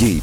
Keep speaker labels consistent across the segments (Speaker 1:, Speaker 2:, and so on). Speaker 1: Jej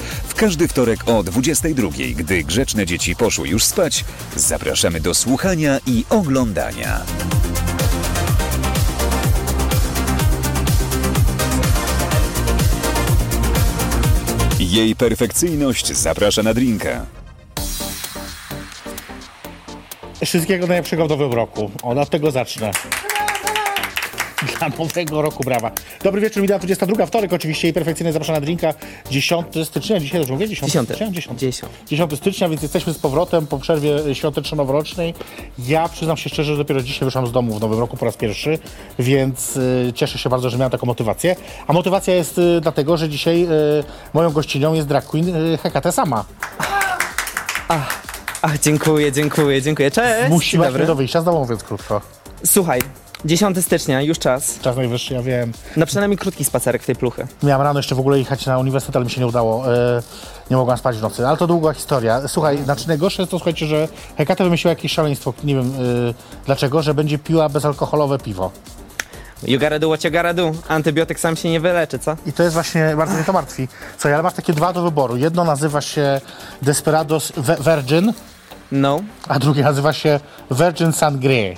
Speaker 1: W każdy wtorek o 22, gdy grzeczne dzieci poszły już spać, zapraszamy do słuchania i oglądania. Jej perfekcyjność zaprasza na drinka.
Speaker 2: Wszystkiego najlepszego w nowym roku. O, od tego zacznę. Dla nowego roku, brawa. Dobry wieczór, minęła 22, wtorek oczywiście i perfekcyjnie zapraszana drinka. 10 stycznia, dzisiaj dobrze mówię? 10
Speaker 3: Dziesiąty.
Speaker 2: stycznia? 10.
Speaker 3: Dziesiąty.
Speaker 2: 10 stycznia, więc jesteśmy z powrotem po przerwie świąteczno-noworocznej. Ja przyznam się szczerze, że dopiero dzisiaj wyszłam z domu w nowym roku po raz pierwszy, więc y, cieszę się bardzo, że miałam taką motywację. A motywacja jest y, dlatego, że dzisiaj y, moją gościnią jest drag queen y, Hekate Sama.
Speaker 3: E, Ach, dziękuję, dziękuję, dziękuję. Cześć!
Speaker 2: Musimy
Speaker 3: Dzień dobry.
Speaker 2: do wyjścia z domu, mówiąc krótko.
Speaker 3: Słuchaj, 10 stycznia, już czas.
Speaker 2: Czas najwyższy, ja wiem.
Speaker 3: Na przynajmniej krótki spacerek w tej pluchy.
Speaker 2: Miałem rano jeszcze w ogóle jechać na uniwersytet, ale mi się nie udało. E, nie mogłam spać w nocy, ale to długa historia. Słuchaj, znaczy najgorsze jest to, słuchajcie, że Hekata wymyśliła jakieś szaleństwo, nie wiem e, dlaczego, że będzie piła bezalkoholowe piwo.
Speaker 3: You gotta do what you gotta do. Antybiotyk sam się nie wyleczy, co?
Speaker 2: I to jest właśnie, bardzo mnie to martwi. Słuchaj, ale masz takie dwa do wyboru. Jedno nazywa się Desperados Ve- Virgin,
Speaker 3: No.
Speaker 2: a drugie nazywa się Virgin Sangre.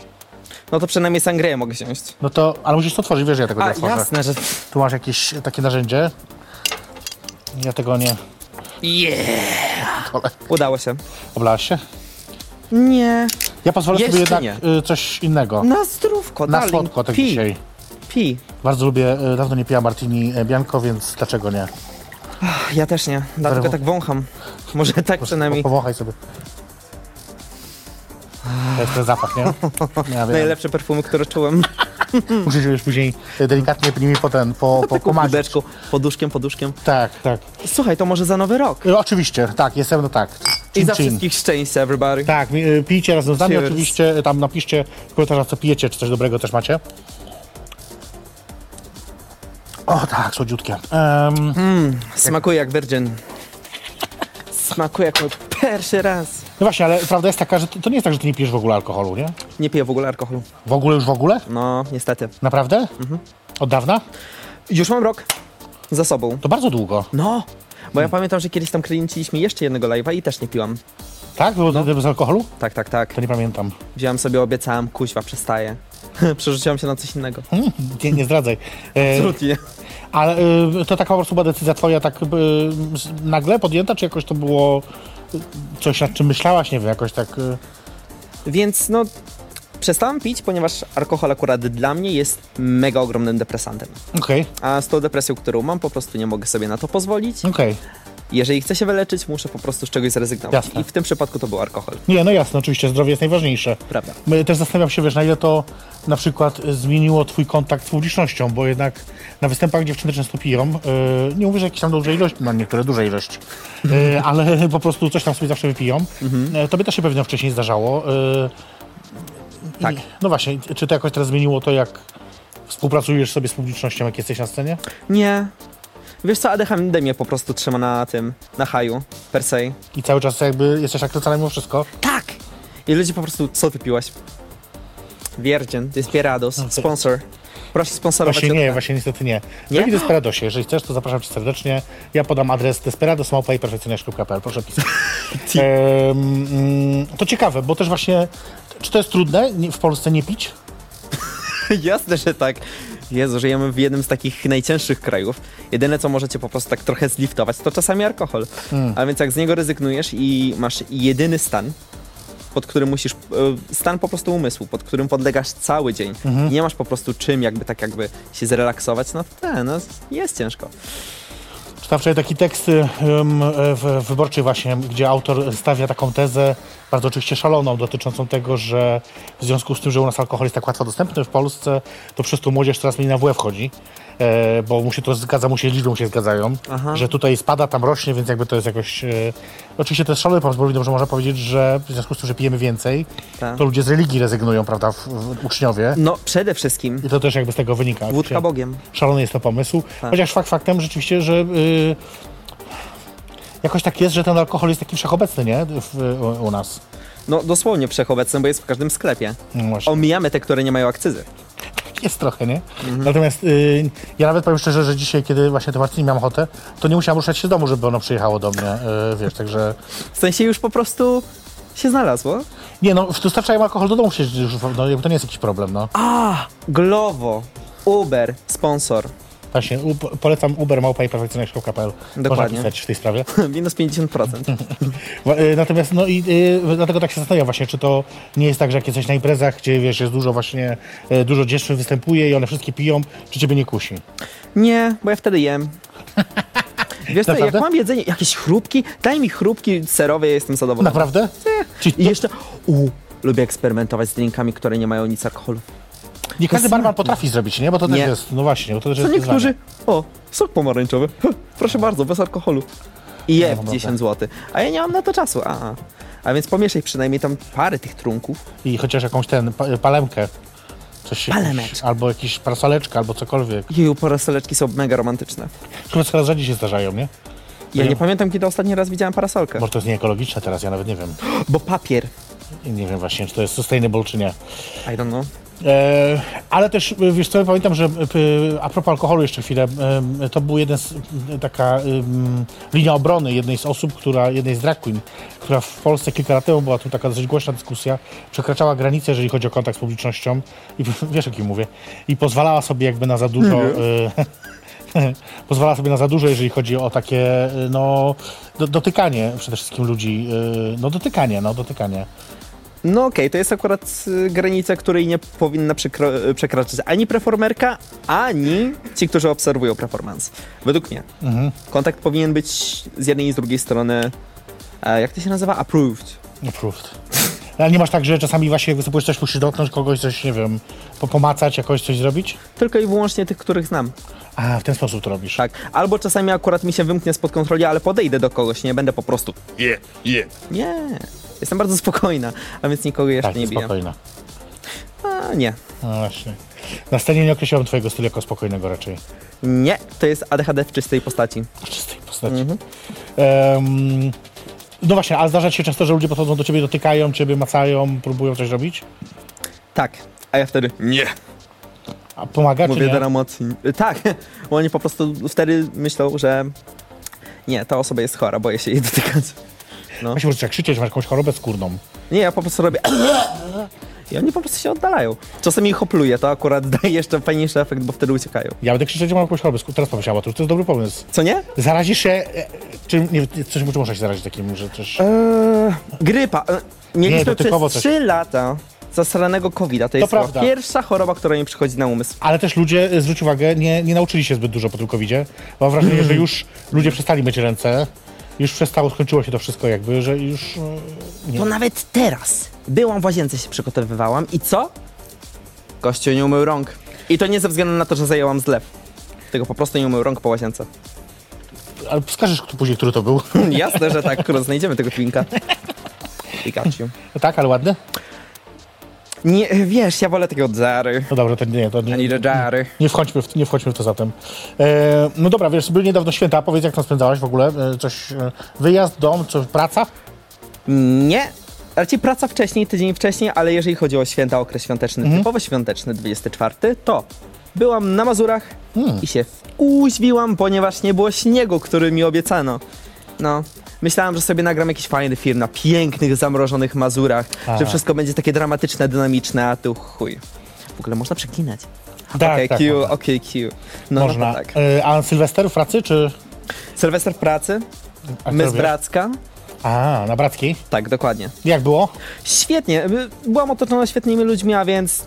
Speaker 3: No to przynajmniej sangrię mogę wziąć.
Speaker 2: No to, ale musisz to otworzyć, wiesz, że ja tego nie
Speaker 3: A,
Speaker 2: otworzę.
Speaker 3: jasne, że...
Speaker 2: Tu masz jakieś takie narzędzie. Ja tego nie...
Speaker 3: Yeah! Udało się.
Speaker 2: Oblałaś się?
Speaker 3: Nie.
Speaker 2: Ja pozwolę
Speaker 3: Jeszcze
Speaker 2: sobie jednak
Speaker 3: nie.
Speaker 2: y, coś innego.
Speaker 3: Na zdrówko,
Speaker 2: Na
Speaker 3: darling.
Speaker 2: słodko tak
Speaker 3: Pij,
Speaker 2: dzisiaj.
Speaker 3: Pij.
Speaker 2: Bardzo lubię, y, dawno nie piłam martini e, bianco, więc dlaczego nie?
Speaker 3: Ach, Ja też nie, dlatego
Speaker 2: Zdrowo.
Speaker 3: tak wącham. Może tak przynajmniej.
Speaker 2: Po- Powąchaj sobie. To jest ten zapach, nie? Ja wiem.
Speaker 3: Najlepszy perfum, który czułem.
Speaker 2: Muszę się już później y, delikatnie nimi po ten, po, po,
Speaker 3: Taką
Speaker 2: pomadzić.
Speaker 3: kubeczką, poduszkiem, poduszkiem.
Speaker 2: Tak, tak.
Speaker 3: Słuchaj, to może za nowy rok.
Speaker 2: Y, Oczywiście, tak, jestem, no tak.
Speaker 3: I
Speaker 2: Chin,
Speaker 3: za
Speaker 2: chin.
Speaker 3: wszystkich szczęścia, everybody.
Speaker 2: Tak, mi- y, pijcie razem z nami,
Speaker 3: Cheers.
Speaker 2: oczywiście y, tam napiszcie w komentarzach, co pijecie, czy coś dobrego też macie. O tak, słodziutkie. Em,
Speaker 3: Smakuje jak virgin. Smakuje jak mój pierwszy raz.
Speaker 2: No właśnie, ale prawda jest taka, że to, to nie jest tak, że ty nie pijesz w ogóle alkoholu, nie?
Speaker 3: Nie piję w ogóle alkoholu.
Speaker 2: W ogóle już w ogóle?
Speaker 3: No, niestety.
Speaker 2: Naprawdę? Od dawna?
Speaker 3: Już mam rok za sobą.
Speaker 2: To bardzo długo.
Speaker 3: No, bo ja pamiętam, że kiedyś tam kręciliśmy jeszcze jednego live'a i też nie piłam.
Speaker 2: Tak? Było wtedy bez alkoholu?
Speaker 3: Tak, tak, tak.
Speaker 2: To nie pamiętam.
Speaker 3: Wziąłem sobie, obiecałem, kuźwa, przestaję. Przerzuciłam się na coś innego.
Speaker 2: Hmm, nie, nie zdradzaj. E,
Speaker 3: Absolutnie.
Speaker 2: ale e, to taka po prostu była decyzja twoja tak e, z- nagle podjęta, czy jakoś to było e, coś, nad czym myślałaś, nie wiem, jakoś tak... E,
Speaker 3: Więc no, przestałem pić, ponieważ alkohol akurat dla mnie jest mega ogromnym depresantem.
Speaker 2: Okej,
Speaker 3: A z tą depresją, którą mam, po prostu nie mogę sobie na to pozwolić.
Speaker 2: okej.
Speaker 3: Jeżeli chcę się wyleczyć, muszę po prostu z czegoś zrezygnować.
Speaker 2: Jasne.
Speaker 3: I w tym przypadku to był alkohol.
Speaker 2: Nie, no jasne, oczywiście, zdrowie jest najważniejsze.
Speaker 3: Prawda.
Speaker 2: My- Też zastanawiam się, wiesz, na ile to na przykład zmieniło twój kontakt z publicznością, bo jednak na występach dziewczyny często piją, yy, nie mówię, że jakieś tam duże ilości, no niektóre duże ilości, yy, ale po prostu coś tam sobie zawsze wypiją. Yy, Tobie też się pewnie wcześniej zdarzało. Yy, i-
Speaker 3: Tak.
Speaker 2: No właśnie, czy to jakoś teraz zmieniło to, jak współpracujesz sobie z publicznością, jak jesteś na scenie?
Speaker 3: Nie. Wiesz co, ADHD mnie po prostu trzyma na tym, na haju, per se.
Speaker 2: I cały czas jakby jesteś akrycana mimo wszystko?
Speaker 3: Tak! I ludzie po prostu, co ty piłaś? Virgin, Desperados, sponsor. Proszę sponsorować.
Speaker 2: No, Właśnie nie,
Speaker 3: odcinek.
Speaker 2: właśnie niestety nie.
Speaker 3: Nie?
Speaker 2: Drogi Desperadosie, jeżeli chcesz, to zapraszam cię serdecznie. Ja podam adres desperadosmałpa.perfekcjonerz.pl, proszę pisać. Em, mm, to ciekawe, bo też właśnie, czy to jest trudne nie- w Polsce nie pić?
Speaker 3: Jasne, że tak. Jezu, żyjemy w jednym z takich najcięższych krajów. Jedyne, co możecie po prostu tak trochę zliftować, to czasami alkohol. A więc jak z niego rezygnujesz i masz jedyny stan, pod którym musisz, e, stan po prostu umysłu, pod którym podlegasz cały dzień. Nie masz po prostu czym jakby tak jakby się zrelaksować, no to ten, no jest e, ciężko.
Speaker 2: Czy Zawsze taki tekst ym, e, w- wyborczy właśnie, gdzie autor stawia taką tezę, bardzo oczywiście szaloną, dotyczącą tego, że w związku z tym, że u nas alkohol jest tak łatwo dostępny w Polsce, to przez to młodzież teraz mniej na WF chodzi, e, bo mu się to zgadza, mu się liczbą się zgadzają, że tutaj spada, tam rośnie, więc jakby to jest jakoś... e, Oczywiście to jest szalony pomysł, bo dobrze można powiedzieć, że w związku z tym, że pijemy więcej,
Speaker 3: Tak.
Speaker 2: to ludzie z religii rezygnują, prawda, w, w, uczniowie.
Speaker 3: No, przede wszystkim
Speaker 2: I to też jakby z tego wynika.
Speaker 3: wódka
Speaker 2: Oczywiście-
Speaker 3: Bogiem.
Speaker 2: szalony jest to pomysł. Chociaż fakt faktem rzeczywiście, że y, jakoś tak jest, że ten alkohol jest taki wszechobecny, nie? W, u, u nas.
Speaker 3: No, dosłownie wszechobecny, bo jest w każdym sklepie.
Speaker 2: No właśnie.
Speaker 3: Omijamy te, które nie mają akcyzy.
Speaker 2: Jest trochę, nie? Natomiast y, ja nawet powiem szczerze, że dzisiaj, kiedy właśnie to Martini miałem ochotę, to nie musiałem ruszać się z domu, żeby ono przyjechało do mnie, y, wiesz, także...
Speaker 3: W sensie już po prostu się znalazło.
Speaker 2: Nie no, dostarczają alkohol do domu przecież, już, no, jakby to nie jest jakiś problem, no.
Speaker 3: A, Glovo, Uber, sponsor.
Speaker 2: Właśnie, u, polecam Uber, małpa i perfekcyjność.pl. Można
Speaker 3: Dokładnie.
Speaker 2: pisać w tej sprawie.
Speaker 3: Minus 50%.
Speaker 2: Wa- y, Natomiast, no i y, dlatego tak się zastanawiam właśnie, czy to nie jest tak, że jak jesteś na imprezach, gdzie wiesz, jest dużo właśnie, y, dużo dziewczyn występuje i one wszystkie piją, czy ciebie nie kusi?
Speaker 3: Nie, bo ja wtedy jem. Wiesz co, jak
Speaker 2: Naprawdę?
Speaker 3: mam jedzenie, jakieś chrupki, daj mi chrupki serowe, ja jestem zadowolony.
Speaker 2: Naprawdę? Czy to,
Speaker 3: I jeszcze, u, lubię eksperymentować z drinkami, które nie mają nic alkoholu.
Speaker 2: nie każdy barman potrafi zrobić, nie? Bo to też
Speaker 3: Nie.
Speaker 2: jest, no właśnie, bo to też
Speaker 3: To
Speaker 2: jest
Speaker 3: niektórzy,
Speaker 2: wyzwanie.
Speaker 3: o, sok pomarańczowy, proszę bardzo, bez alkoholu. I je
Speaker 2: No,
Speaker 3: w
Speaker 2: dobra.
Speaker 3: 10 zł, a ja nie mam na to czasu, a, a. a więc pomieszaj przynajmniej tam parę tych trunków.
Speaker 2: I chociaż jakąś ten, pa, palemkę. Coś się,
Speaker 3: Palemeczkę.
Speaker 2: albo jakiś parasoleczka, albo cokolwiek.
Speaker 3: Jeju, parasoleczki są mega romantyczne.
Speaker 2: Chyba coraz rzadziej się zdarzają, nie?
Speaker 3: Ja
Speaker 2: Ja-
Speaker 3: nie pamiętam, kiedy ostatni raz widziałem parasolkę,
Speaker 2: Może to jest nieekologiczne teraz, ja nawet nie wiem.
Speaker 3: bo papier,
Speaker 2: I Nie wiem właśnie, czy to jest sustainable, czy nie.
Speaker 3: I don't know.
Speaker 2: E, ale też, e, wiesz co, pamiętam, że e, a propos alkoholu jeszcze chwilę, e, to był jeden z, e, taka em, linia obrony jednej z osób, która, jednej z drag queen, która w Polsce kilka lat temu była tu taka dosyć głośna dyskusja, przekraczała granice, jeżeli chodzi o kontakt z publicznością i wiesz o kim mówię, i pozwalała sobie jakby na za dużo... e, Pozwala sobie na za dużo, jeżeli chodzi o takie, e, no, do, dotykanie przede wszystkim ludzi, e, no, dotykanie, no, dotykanie.
Speaker 3: No okej, to jest akurat y, granica, której nie powinna przekro- y, przekraczać ani performerka, ani ci, którzy obserwują performance. Według mnie. Kontakt powinien być z jednej i z drugiej strony, e, jak to się nazywa? Approved.
Speaker 2: Approved. Ale nie masz tak, że czasami właśnie występujesz coś, musisz dotknąć kogoś, coś, nie wiem, po- pomacać, jakoś coś zrobić?
Speaker 3: Tylko i wyłącznie tych, których znam.
Speaker 2: A, w ten sposób to robisz.
Speaker 3: Tak. Albo czasami akurat mi się wymknie spod kontroli, ale podejdę do kogoś, nie będę po prostu.
Speaker 1: Je, je.
Speaker 3: Nie. Jestem bardzo spokojna, a więc nikogo jeszcze
Speaker 2: tak
Speaker 3: nie
Speaker 2: jest
Speaker 3: biję.
Speaker 2: spokojna.
Speaker 3: A nie.
Speaker 2: No właśnie. Na scenie nie określiłem twojego stylu jako spokojnego raczej.
Speaker 3: Nie, to jest ADHD w czystej postaci.
Speaker 2: W czystej postaci.
Speaker 3: Mhm.
Speaker 2: Em, no właśnie, a zdarza ci się często, że ludzie podchodzą do ciebie, dotykają ciebie, macają, próbują coś robić?
Speaker 3: Tak. A ja wtedy.
Speaker 1: Nie.
Speaker 2: A pomaga
Speaker 3: Mówię
Speaker 2: czy
Speaker 3: do
Speaker 2: nie?
Speaker 3: emocji. Tak, bo oni po prostu wtedy myślą, że nie, ta osoba jest chora, boję się jej dotykać. No.
Speaker 2: Właśnie możesz krzyczeć, masz jakąś chorobę skórną.
Speaker 3: Nie, ja po prostu robię i oni po prostu się oddalają. Czasami ich hopluję, to akurat daje jeszcze fajniejszy efekt, bo wtedy uciekają.
Speaker 2: Ja będę krzyczeć, że mam jakąś chorobę skórną. Teraz pomyślałem o tym, to jest dobry pomysł.
Speaker 3: Co nie?
Speaker 2: Zarazisz się, e, czym, nie, czym, czym można się zarazić takim, że coś...
Speaker 3: Eee, grypa. Eee, Mieliśmy
Speaker 2: dotykowo
Speaker 3: przez
Speaker 2: coś.
Speaker 3: 3 lata zasranego COVID-a. To jest chyba
Speaker 2: prawda.
Speaker 3: pierwsza choroba, która mi przychodzi na umysł.
Speaker 2: Ale też ludzie, y, zwróć uwagę, nie, nie nauczyli się zbyt dużo po tym covidzie. Mam wrażenie, że już ludzie przestali myć ręce. Już przestało, skończyło się to wszystko jakby, że już... y, Nie.
Speaker 3: To nawet teraz. Byłam w łazience, się przygotowywałam i co? Kościół nie umył rąk. I to nie ze względu na to, że zajęłam zlew. Tylko po prostu nie umył rąk po łazience.
Speaker 2: Ale wskażesz kto- później, który to był.
Speaker 3: Jasne, że tak, kurwa, znajdziemy tego twinka. Pikachu.
Speaker 2: tak, ale ładny?
Speaker 3: Nie, wiesz, ja wolę tego Jary.
Speaker 2: No dobrze, to nie, to
Speaker 3: Ani
Speaker 2: nie.
Speaker 3: do Jary.
Speaker 2: Nie wchodźmy, w, nie wchodźmy w to zatem. E, no dobra, wiesz, były niedawno święta, powiedz jak tam spędzałaś w ogóle? E, Coś, e, wyjazd, dom, coś, praca?
Speaker 3: Nie. Raczej praca wcześniej, tydzień wcześniej, ale jeżeli chodzi o święta, okres świąteczny,
Speaker 2: Mhm.
Speaker 3: typowo świąteczny, 24, to byłam na Mazurach
Speaker 2: Hmm.
Speaker 3: i się uźwiłam, ponieważ nie było śniegu, który mi obiecano. No. Myślałam, że sobie nagram jakiś fajny film na pięknych, zamrożonych Mazurach,
Speaker 2: A.
Speaker 3: że wszystko będzie takie dramatyczne, dynamiczne, a tu chuj. W ogóle można przeklinać.
Speaker 2: Tak,
Speaker 3: Okej,
Speaker 2: tak,
Speaker 3: Q,
Speaker 2: można.
Speaker 3: okej, Q. No,
Speaker 2: Można.
Speaker 3: No, to tak.
Speaker 2: E, a Sylwester w pracy, czy...
Speaker 3: Sylwester w pracy,
Speaker 2: a
Speaker 3: my
Speaker 2: co
Speaker 3: z
Speaker 2: robisz?
Speaker 3: Bracka.
Speaker 2: A, na Brackiej.
Speaker 3: Tak, dokładnie.
Speaker 2: Jak było?
Speaker 3: Świetnie. by- Byłam otoczona świetnymi ludźmi, a więc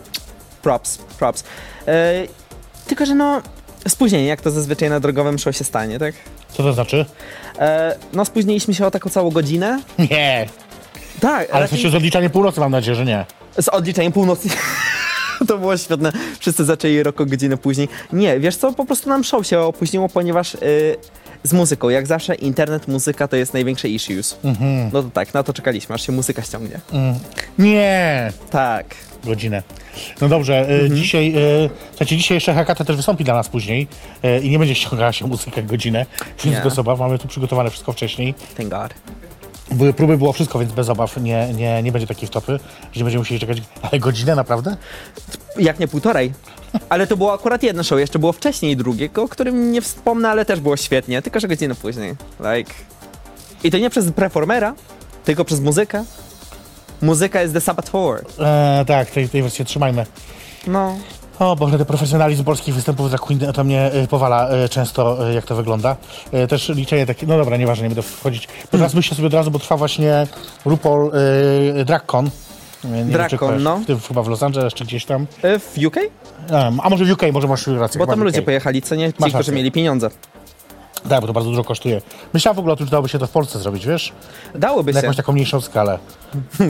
Speaker 3: props, props. E, tylko, że no, spóźnienie, jak to zazwyczaj na drogowym show się stanie, tak?
Speaker 2: Co to znaczy?
Speaker 3: E, no spóźniliśmy się o taką całą godzinę.
Speaker 2: Nie,
Speaker 3: Tak,
Speaker 2: ale
Speaker 3: raczej-
Speaker 2: w sensie z odliczaniem północy mam nadzieję, że nie.
Speaker 3: Z odliczeniem północy. To było świetne. Wszyscy zaczęli rok o godzinę później. Nie, wiesz co, po prostu nam show się opóźniło, ponieważ y, z muzyką, jak zawsze, internet, muzyka to jest największe issues. No to tak, na to czekaliśmy, aż się muzyka ściągnie.
Speaker 2: Nie!
Speaker 3: Tak.
Speaker 2: Godzinę. No dobrze, e, dzisiaj, e, słuchajcie, dzisiaj jeszcze Hakata też wystąpi dla nas później e, i nie będzie ściągała się muzyka godzinę, więc
Speaker 3: Nie.
Speaker 2: bez obaw, mamy tu przygotowane wszystko wcześniej.
Speaker 3: Thank God.
Speaker 2: Były próby, było wszystko, więc bez obaw nie, nie, nie będzie takiej wtopy, że nie będziemy musieli czekać. Ale godzinę naprawdę?
Speaker 3: Jak nie półtorej. Ale to było akurat jedno show, jeszcze było wcześniej drugie, o którym nie wspomnę, ale też było świetnie, tylko że godzinę później. Like. I to nie przez performera, tylko przez muzykę. Muzyka jest The Saboteur.
Speaker 2: E, tak, tej, tej wersji trzymajmy.
Speaker 3: No.
Speaker 2: O Boże, ten profesjonalizm polskich występów za Queen to mnie y, powala y, często, y, jak to wygląda. Y, Też liczenie takie, no dobra, nieważne, nie będę wchodzić. Teraz myślę sobie od razu, bo trwa właśnie RuPaul y, DragCon. Nie wiem, czy
Speaker 3: DragCon,
Speaker 2: kojarzysz,
Speaker 3: no.
Speaker 2: w tym chyba w Los Angeles czy gdzieś tam.
Speaker 3: E, W UK?
Speaker 2: Em, A może w UK, może masz rację.
Speaker 3: Bo
Speaker 2: chyba
Speaker 3: tam
Speaker 2: w
Speaker 3: ludzie
Speaker 2: UK.
Speaker 3: pojechali, co nie? Ci,
Speaker 2: Masz
Speaker 3: którzy
Speaker 2: rację.
Speaker 3: mieli pieniądze.
Speaker 2: Tak, bo to bardzo dużo kosztuje. Myślałem w ogóle o tym, że dałoby się to w Polsce zrobić, wiesz?
Speaker 3: Dałoby
Speaker 2: Na
Speaker 3: się.
Speaker 2: jakąś taką mniejszą skalę.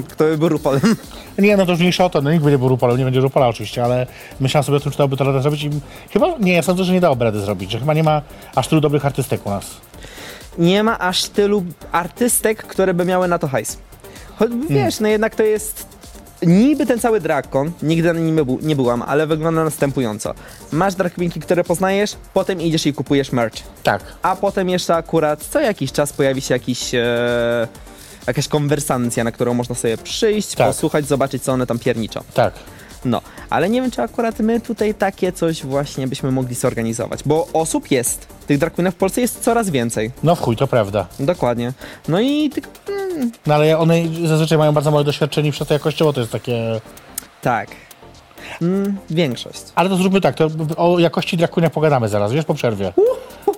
Speaker 3: Kto by był Rupolem?
Speaker 2: Nie, no to już mniejsza o to, no nikt by nie był Rupolem, nie będzie Rupola oczywiście, ale myślałem sobie o tym, czy dałoby to radę zrobić i chyba, nie, ja sądzę, że nie dałoby rady zrobić, że chyba nie ma aż tylu dobrych artystek u nas.
Speaker 3: Nie ma aż tylu artystek, które by miały na to hajs. Choć, wiesz, no jednak to jest... Niby ten cały drakon, nigdy na nim był, nie byłam, ale wygląda następująco. Masz drakminki, które poznajesz, potem idziesz i kupujesz merch.
Speaker 2: Tak.
Speaker 3: A potem jeszcze akurat co jakiś czas pojawi się jakiś... E... Jakaś konwersancja, na którą można sobie przyjść,
Speaker 2: Tak.
Speaker 3: posłuchać, zobaczyć, co one tam pierniczą.
Speaker 2: Tak.
Speaker 3: No, ale nie wiem, czy akurat my tutaj takie coś właśnie byśmy mogli zorganizować, bo osób jest. Tych drag queenów w Polsce jest coraz więcej.
Speaker 2: No w chuj, to prawda.
Speaker 3: Dokładnie. No i tylko... Mm,
Speaker 2: No ale one zazwyczaj mają bardzo małe doświadczenie i przez to jakościowo to jest takie...
Speaker 3: tak. Mm, większość.
Speaker 2: Ale to zróbmy tak, to o jakości drakunia pogadamy zaraz, wiesz, po przerwie.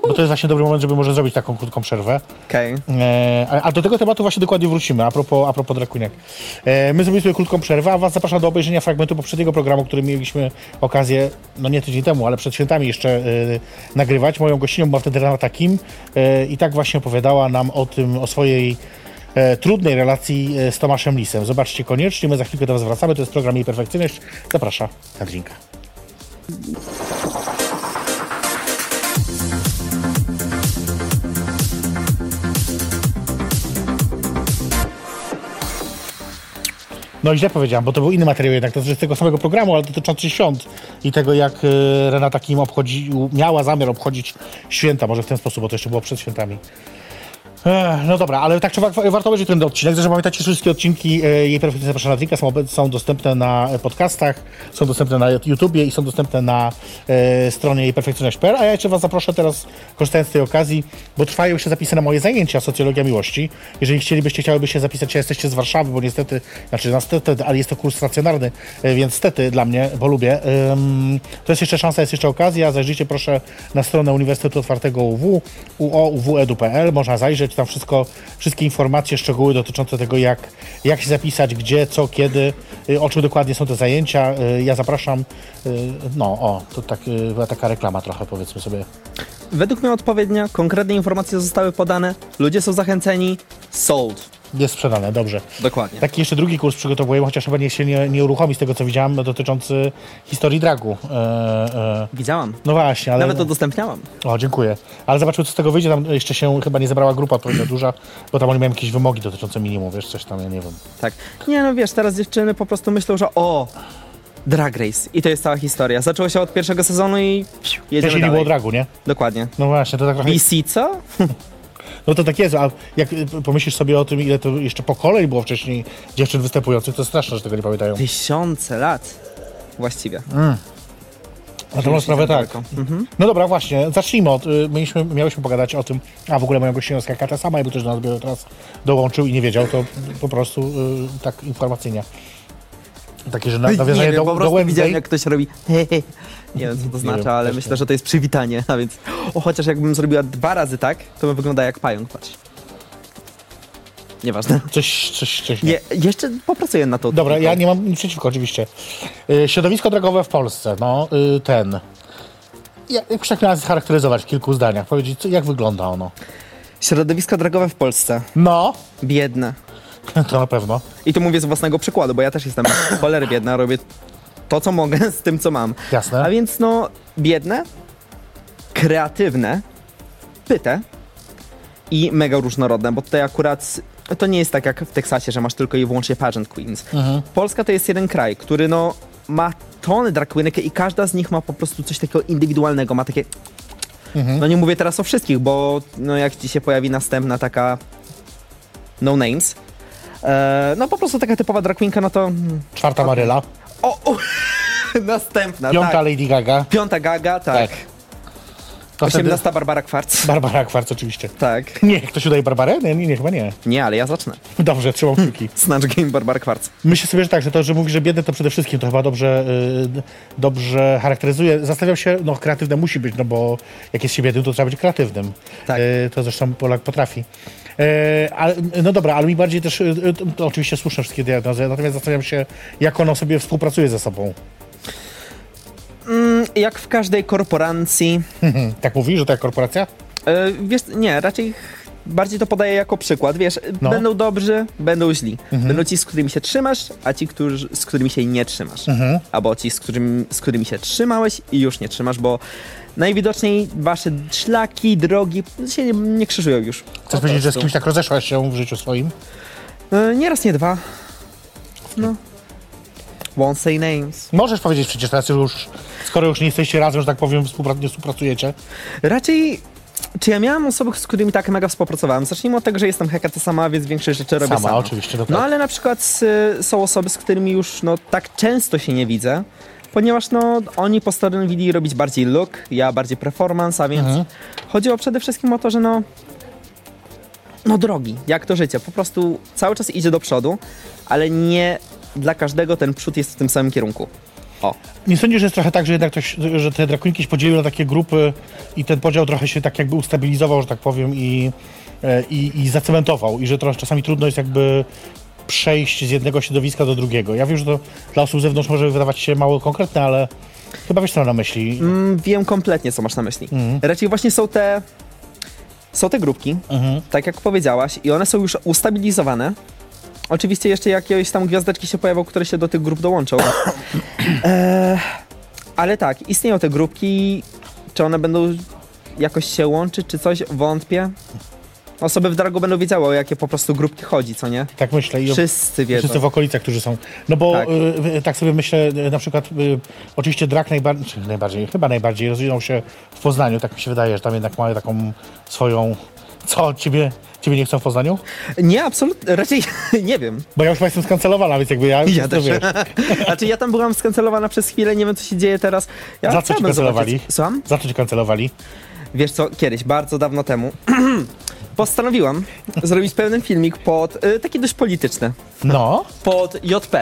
Speaker 2: Bo to jest właśnie dobry moment, żeby może zrobić taką krótką przerwę.
Speaker 3: Okej.
Speaker 2: E, a- a do tego tematu właśnie dokładnie wrócimy, a propos, a propos drakuniek. E, my zrobimy sobie krótką przerwę, a was zapraszam do obejrzenia fragmentu poprzedniego programu, który mieliśmy okazję, no nie tydzień temu, ale przed świętami jeszcze e, nagrywać. Moją gościnią była wtedy Renata Kim e, i tak właśnie opowiadała nam o tym, o swojej e, trudnej relacji e, z Tomaszem Lisem. Zobaczcie koniecznie, my za chwilkę do was wracamy, to jest program Jej Perfekcyjność. Zapraszam na drinka. No i źle powiedziałam, bo to był inny materiał jednak, to jest z tego samego programu, ale dotyczący świąt i tego, jak e, Renata Kim obchodzi, miała zamiar obchodzić święta, może w ten sposób, bo to jeszcze było przed świętami. Ech, No dobra, ale tak czy wa- warto obejrzeć ten odcinek. Zresztą pamiętajcie, że wszystkie odcinki e, jej perfekcji zapraszana Drinka są, obe- są dostępne na e, podcastach, są dostępne na YouTubie i są dostępne na e, stronie jej perfekcyjność.pl. A ja jeszcze Was zaproszę teraz, korzystając z tej okazji, bo trwają jeszcze zapisy na moje zajęcia Socjologia Miłości. Jeżeli chcielibyście, chciałyby się zapisać, ja jesteście z Warszawy, bo niestety, znaczy niestety, ale jest to kurs stacjonarny, e, więc stety dla mnie, bo lubię. Ym, To jest jeszcze szansa, jest jeszcze okazja. Zajrzyjcie proszę na stronę Uniwersytetu Otwartego UW, E uouw.edu.pl. Można zajrzeć, tam wszystko, wszystkie informacje, szczegóły dotyczące tego, jak, jak się zapisać, gdzie, co, kiedy, y, o czym dokładnie są te zajęcia. Y, Ja zapraszam. y, No, o, to tak, y, była taka reklama trochę, powiedzmy sobie.
Speaker 3: Według mnie odpowiednio, konkretne informacje zostały podane, ludzie są zachęceni, sold.
Speaker 2: Jest sprzedane, dobrze.
Speaker 3: Dokładnie.
Speaker 2: Taki jeszcze drugi kurs przygotowuję, chociaż chyba niech się nie, nie uruchomi z tego, co widziałem, dotyczący historii dragu. E, e,
Speaker 3: Widziałam.
Speaker 2: no właśnie, ale...
Speaker 3: Nawet udostępniałam.
Speaker 2: O, dziękuję. Ale zobaczymy, co z tego wyjdzie. Tam jeszcze się chyba nie zebrała grupa odpowiednio duża, bo tam oni mają jakieś wymogi dotyczące minimum, wiesz, coś tam, ja nie wiem.
Speaker 3: Tak. Nie no wiesz, teraz dziewczyny po prostu myślą, że o, Drag Race. I to jest cała historia. Zaczęło się od pierwszego sezonu i psiu, jedziemy
Speaker 2: Jeśli nie
Speaker 3: dalej.
Speaker 2: było dragu, nie?
Speaker 3: Dokładnie.
Speaker 2: No właśnie, to tak trochę...
Speaker 3: BC co?
Speaker 2: No to tak jest, a jak y, pomyślisz sobie o tym, ile to jeszcze pokoleń było wcześniej dziewczyn występujących, to straszne, że tego nie pamiętają.
Speaker 3: Tysiące lat. Właściwie.
Speaker 2: No, Na tą sprawę tak.
Speaker 3: Mhm.
Speaker 2: No dobra, właśnie, zacznijmy od, y, mieliśmy, miałyśmy pogadać o tym, a w ogóle moją gościnę skakata sama, jakby też do nas dopiero teraz dołączył i nie wiedział, to po prostu y, tak informacyjnie. Takie, że na, nawiązanie
Speaker 3: nie wiem,
Speaker 2: do,
Speaker 3: po
Speaker 2: do
Speaker 3: prostu
Speaker 2: Wednesday.
Speaker 3: widziałem, jak ktoś robi. Nie wiem, co to znaczy,
Speaker 2: wiem,
Speaker 3: ale
Speaker 2: też
Speaker 3: myślę,
Speaker 2: nie.
Speaker 3: że to jest przywitanie. A więc, o, chociaż jakbym zrobiła dwa razy tak, to by wygląda jak pająk, patrz. Nieważne.
Speaker 2: Coś, coś, coś
Speaker 3: Nie, jeszcze popracuję na to.
Speaker 2: Dobra, ja nie mam nic przeciwko, oczywiście. Y, Środowisko drogowe w Polsce, no y, ten. Jak, jakbyś tak miała scharakteryzować w kilku zdaniach, powiedzieć, co, jak wygląda ono?
Speaker 3: Środowisko drogowe w Polsce.
Speaker 2: No,
Speaker 3: Biedne.
Speaker 2: to na pewno.
Speaker 3: I to mówię z własnego przykładu, bo ja też jestem cholery biedna, robię to, co mogę z tym, co mam.
Speaker 2: Jasne.
Speaker 3: A więc no, biedne, kreatywne, pyte i mega różnorodne, bo tutaj akurat to nie jest tak jak w Teksasie, że masz tylko i wyłącznie pageant queens. Polska to jest jeden kraj, który no ma tony drag queenek i każda z nich ma po prostu coś takiego indywidualnego, ma takie... No nie mówię teraz o wszystkich, bo no jak ci się pojawi następna taka no names, e, no po prostu taka typowa drag queenka, no to... mm,
Speaker 2: Czwarta Maryla,
Speaker 3: O, o następna,
Speaker 2: piąta
Speaker 3: tak.
Speaker 2: Lady Gaga.
Speaker 3: Piąta Gaga, tak.
Speaker 2: To wtedy
Speaker 3: 18 Barbara Kwarc.
Speaker 2: Barbara Kwarc oczywiście.
Speaker 3: Tak.
Speaker 2: Nie, ktoś udaje Barbarę? Nie, nie, nie, chyba nie.
Speaker 3: Nie, ale ja zacznę.
Speaker 2: Dobrze, trzymam kciuki.
Speaker 3: Snatch Game Barbara Kwarc.
Speaker 2: Myślę sobie, że tak, że to, że mówi, że biedny, to przede wszystkim to chyba dobrze, y, dobrze charakteryzuje. Zastanawiam się, no kreatywne musi być, no bo jak jest się biedny, to trzeba być kreatywnym.
Speaker 3: Tak.
Speaker 2: Y, to zresztą Polak potrafi. Y, ale- no dobra, ale mi bardziej też, y, y, to, to oczywiście słuszne wszystkie diagnozy, natomiast zastanawiam się, jak ono sobie współpracuje ze sobą.
Speaker 3: Mm, Jak w każdej korporacji.
Speaker 2: Mhm. Tak mówi, że ta korporacja?
Speaker 3: E, wiesz, nie, raczej ch- bardziej to podaję jako przykład. Wiesz,
Speaker 2: No. Mhm.
Speaker 3: będą dobrzy, będą źli. Będą ci, z którymi się trzymasz, a ci, którzy, z którymi się nie trzymasz.
Speaker 2: Mhm.
Speaker 3: Albo ci, z, którym, z którymi się trzymałeś i już nie trzymasz, bo najwidoczniej wasze szlaki, drogi się nie, nie krzyżują już.
Speaker 2: Chcesz powiedzieć, że z kimś tak rozeszłaś się w życiu swoim?
Speaker 3: E, Nieraz, nie dwa. No. Won't say names.
Speaker 2: Możesz powiedzieć przecież teraz już, skoro już nie jesteście razem, że tak powiem, współpra- nie współpracujecie.
Speaker 3: Raczej, czy ja miałam osoby, z którymi tak mega współpracowałem? Zacznijmy od tego, że jestem hekata sama, więc większość rzeczy robię
Speaker 2: Sama,
Speaker 3: sama.
Speaker 2: oczywiście, no tak.
Speaker 3: No ale na przykład y, są osoby, z którymi już no, tak często się nie widzę, ponieważ no, oni postanowili robić bardziej look, ja bardziej performance, a więc
Speaker 2: Mhm.
Speaker 3: chodziło przede wszystkim o to, że no, no drogi, jak to życie, po prostu cały czas idzie do przodu, ale nie dla każdego ten przód jest w tym samym kierunku. O.
Speaker 2: Nie sądzisz, że jest trochę tak, że jednak ktoś, że te drakoniki się podzieliły na takie grupy i ten podział trochę się tak jakby ustabilizował, że tak powiem, i, e, i, i zacementował i że trochę czasami trudno jest jakby przejść z jednego środowiska do drugiego. Ja wiem, że to dla osób z zewnątrz może wydawać się mało konkretne, ale chyba wiesz, co mam na myśli.
Speaker 3: Mm, wiem kompletnie, co masz na myśli. Raczej właśnie są te. Są te grupki, tak jak powiedziałaś, i one są już ustabilizowane. Oczywiście jeszcze jakieś tam gwiazdeczki się pojawią, które się do tych grup dołączą. Eee, ale tak, istnieją te grupki. Czy one będą jakoś się łączyć, czy coś? Wątpię. Osoby w Drago będą wiedziały, o jakie po prostu grupki chodzi, co nie?
Speaker 2: Tak myślę. I o-
Speaker 3: Wszyscy wiedzą.
Speaker 2: Wszyscy w okolicach, którzy są. No bo
Speaker 3: Tak.
Speaker 2: tak, tak sobie myślę, y, na przykład y, oczywiście Drak najbardziej, najbardziej, chyba najbardziej rozwinął się w Poznaniu, tak mi się wydaje, że tam jednak mają taką swoją... Co, ciebie, ciebie nie chcą w Poznaniu?
Speaker 3: Nie, absolutnie, raczej nie wiem.
Speaker 2: Bo ja już chyba jestem skancelowana, więc jakby ja...
Speaker 3: Ja
Speaker 2: to
Speaker 3: też.
Speaker 2: wiesz.
Speaker 3: Znaczy ja tam byłam skancelowana przez chwilę, nie wiem co się dzieje teraz. Ja
Speaker 2: Za co cię
Speaker 3: chciałabym
Speaker 2: kancelowali?
Speaker 3: zobaczyć- Słucham?
Speaker 2: Za co cię kancelowali?
Speaker 3: Wiesz co, kiedyś, bardzo dawno temu, postanowiłam zrobić pewien filmik pod, y, taki dość polityczny,
Speaker 2: No,
Speaker 3: pod JP.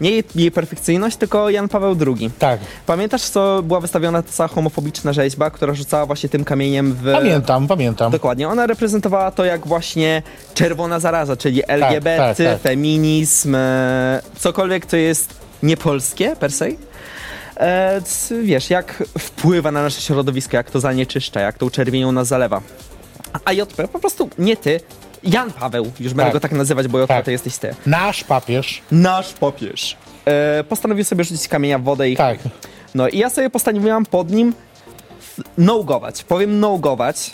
Speaker 3: Nie jej, jej perfekcyjność, tylko Jan Paweł II.
Speaker 2: tak.
Speaker 3: Pamiętasz, co była wystawiona ta cała homofobiczna rzeźba, która rzucała właśnie tym kamieniem w...
Speaker 2: Pamiętam, pamiętam.
Speaker 3: Dokładnie, ona reprezentowała to jak właśnie czerwona zaraza, czyli LGBT,
Speaker 2: tak, tak.
Speaker 3: feminizm, e, cokolwiek to jest niepolskie per se. E, c- wiesz, jak wpływa na nasze środowisko, jak to zanieczyszcza, jak tą czerwienią nas zalewa. A JP po prostu nie ty, Jan Paweł, już będę
Speaker 2: Tak.
Speaker 3: go tak nazywać, bo JP
Speaker 2: Tak.
Speaker 3: to jesteś ty.
Speaker 2: Nasz papież,
Speaker 3: Nasz papież. E, postanowił sobie rzucić kamienia w wodę i
Speaker 2: tak.
Speaker 3: no i ja sobie postanowiłam pod nim nogować. Powiem nogować.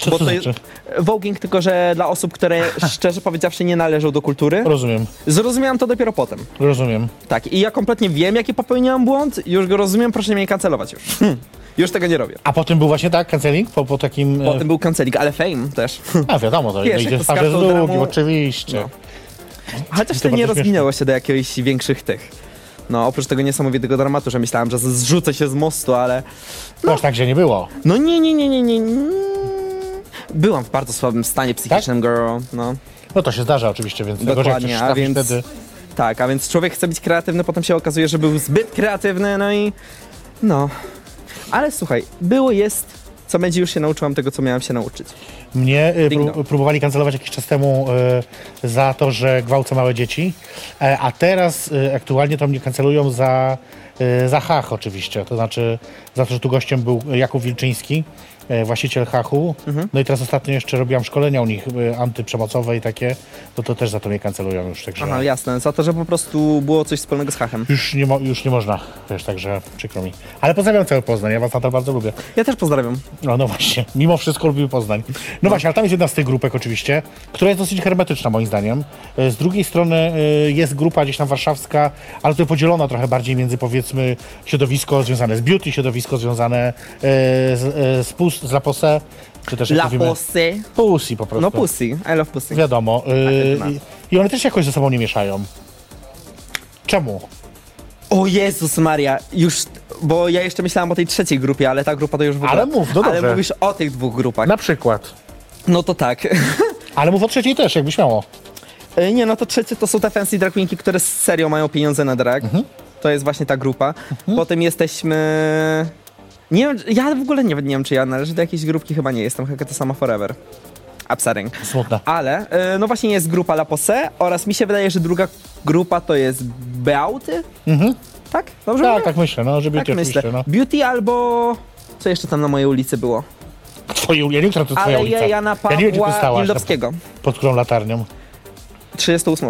Speaker 2: Co to znaczy?
Speaker 3: Voguing tylko, że dla osób, które szczerze powiedziawszy nie należą do kultury.
Speaker 2: Rozumiem,
Speaker 3: Zrozumiałam to dopiero potem.
Speaker 2: rozumiem.
Speaker 3: Tak, i ja kompletnie wiem, jaki popełniłam błąd, już go rozumiem, proszę mnie nie kancelować już. już tego nie robię.
Speaker 2: A potem był właśnie tak, canceling? Po, po takim... e,
Speaker 3: Potem był kancelik, ale fame też.
Speaker 2: A wiadomo, to
Speaker 3: Wiesz,
Speaker 2: idzie
Speaker 3: jak
Speaker 2: w
Speaker 3: to z
Speaker 2: parze z
Speaker 3: kartą
Speaker 2: drugim,
Speaker 3: dramu-
Speaker 2: oczywiście.
Speaker 3: No. Chociaż
Speaker 2: to
Speaker 3: to nie
Speaker 2: bardzo
Speaker 3: rozwinęło się do jakichś większych tych. No, oprócz tego niesamowitego dramatu, że myślałem, że zrzucę się z mostu, ale
Speaker 2: No. Aż tak, że nie było.
Speaker 3: No nie, nie, nie, nie, nie. nie. Byłam w bardzo słabym stanie psychicznym,
Speaker 2: Tak?
Speaker 3: girl. No.
Speaker 2: No to się zdarza oczywiście, więc tego, że jak
Speaker 3: Dokładnie,
Speaker 2: coś
Speaker 3: a
Speaker 2: trafisz
Speaker 3: więc-
Speaker 2: wtedy...
Speaker 3: Tak, a więc człowiek chce być kreatywny, potem się okazuje, że był zbyt kreatywny, no i. No. Ale słuchaj, było, jest, co będzie, już się nauczyłam tego, co miałam się nauczyć.
Speaker 2: Mnie y,
Speaker 3: Ding
Speaker 2: pró-
Speaker 3: dong.
Speaker 2: próbowali kancelować jakiś czas temu y, za to, że gwałcę małe dzieci, e, a teraz y, aktualnie to mnie kancelują za, y, za hach oczywiście, to znaczy za to, że tu gościem był Jakub Wilczyński, y, właściciel hachu.
Speaker 3: Mhm.
Speaker 2: No i teraz ostatnio jeszcze robiłam szkolenia u nich y, antyprzemocowe i takie, to to też za to mnie kancelują już, także
Speaker 3: Aha, No jasne, za to, że po prostu było coś wspólnego z hachem.
Speaker 2: już, nie mo- już nie można, wiesz, także przykro mi. Ale pozdrawiam cały Poznań, ja was na to bardzo lubię.
Speaker 3: Ja też pozdrawiam.
Speaker 2: No, no właśnie, mimo wszystko lubimy Poznań. No, właśnie, ale tam jest jedna z tych grupek oczywiście, która jest dosyć hermetyczna moim zdaniem. E, Z drugiej strony e, jest grupa gdzieś tam warszawska, ale tutaj podzielona trochę bardziej między powiedzmy środowisko związane z beauty, środowisko związane e, z, e, z, pus, z La Posse, czy też jak
Speaker 3: La
Speaker 2: mówimy...
Speaker 3: pussy.
Speaker 2: Pussy po prostu.
Speaker 3: No pussy, I love pussy.
Speaker 2: Wiadomo. e,
Speaker 3: Tak, tak.
Speaker 2: I one też jakoś ze sobą nie mieszają. Czemu?
Speaker 3: Tak. O Jezus Maria, już, bo ja jeszcze myślałam o tej trzeciej grupie, ale ta grupa to już w ogóle...
Speaker 2: Ale mów, no dobrze.
Speaker 3: Ale mówisz o tych dwóch grupach.
Speaker 2: Na przykład.
Speaker 3: No to tak.
Speaker 2: Ale mów o trzeciej też, jakby śmiało.
Speaker 3: E, Nie, no to trzecie to są te fancy drag queenki, które serio mają pieniądze na drag.
Speaker 2: Mhm.
Speaker 3: To jest właśnie ta grupa. Potem jesteśmy... Nie wiem, ja w ogóle nie, nie wiem, czy ja należę do jakiejś grupki, chyba nie jestem, chyba to sama forever. Absaring.
Speaker 2: Smutne.
Speaker 3: Ale, e, no właśnie jest grupa La Posse oraz mi się wydaje, że druga grupa to jest Beauty?
Speaker 2: Mhm.
Speaker 3: Tak? Dobrze mówię?
Speaker 2: Tak, tak myślę, no, żeby
Speaker 3: Tak
Speaker 2: tak
Speaker 3: myślę.
Speaker 2: oczywiście, no.
Speaker 3: Beauty albo... Co jeszcze tam na mojej ulicy było?
Speaker 2: Twoje, ja nie wiem, która to twoja
Speaker 3: Ale
Speaker 2: ulica.
Speaker 3: ja, Jana
Speaker 2: ja
Speaker 3: Pawła
Speaker 2: nie wiem, gdzie ty stałaś. na-
Speaker 3: Ildowskiego.
Speaker 2: Pod którą latarnią?
Speaker 3: 38.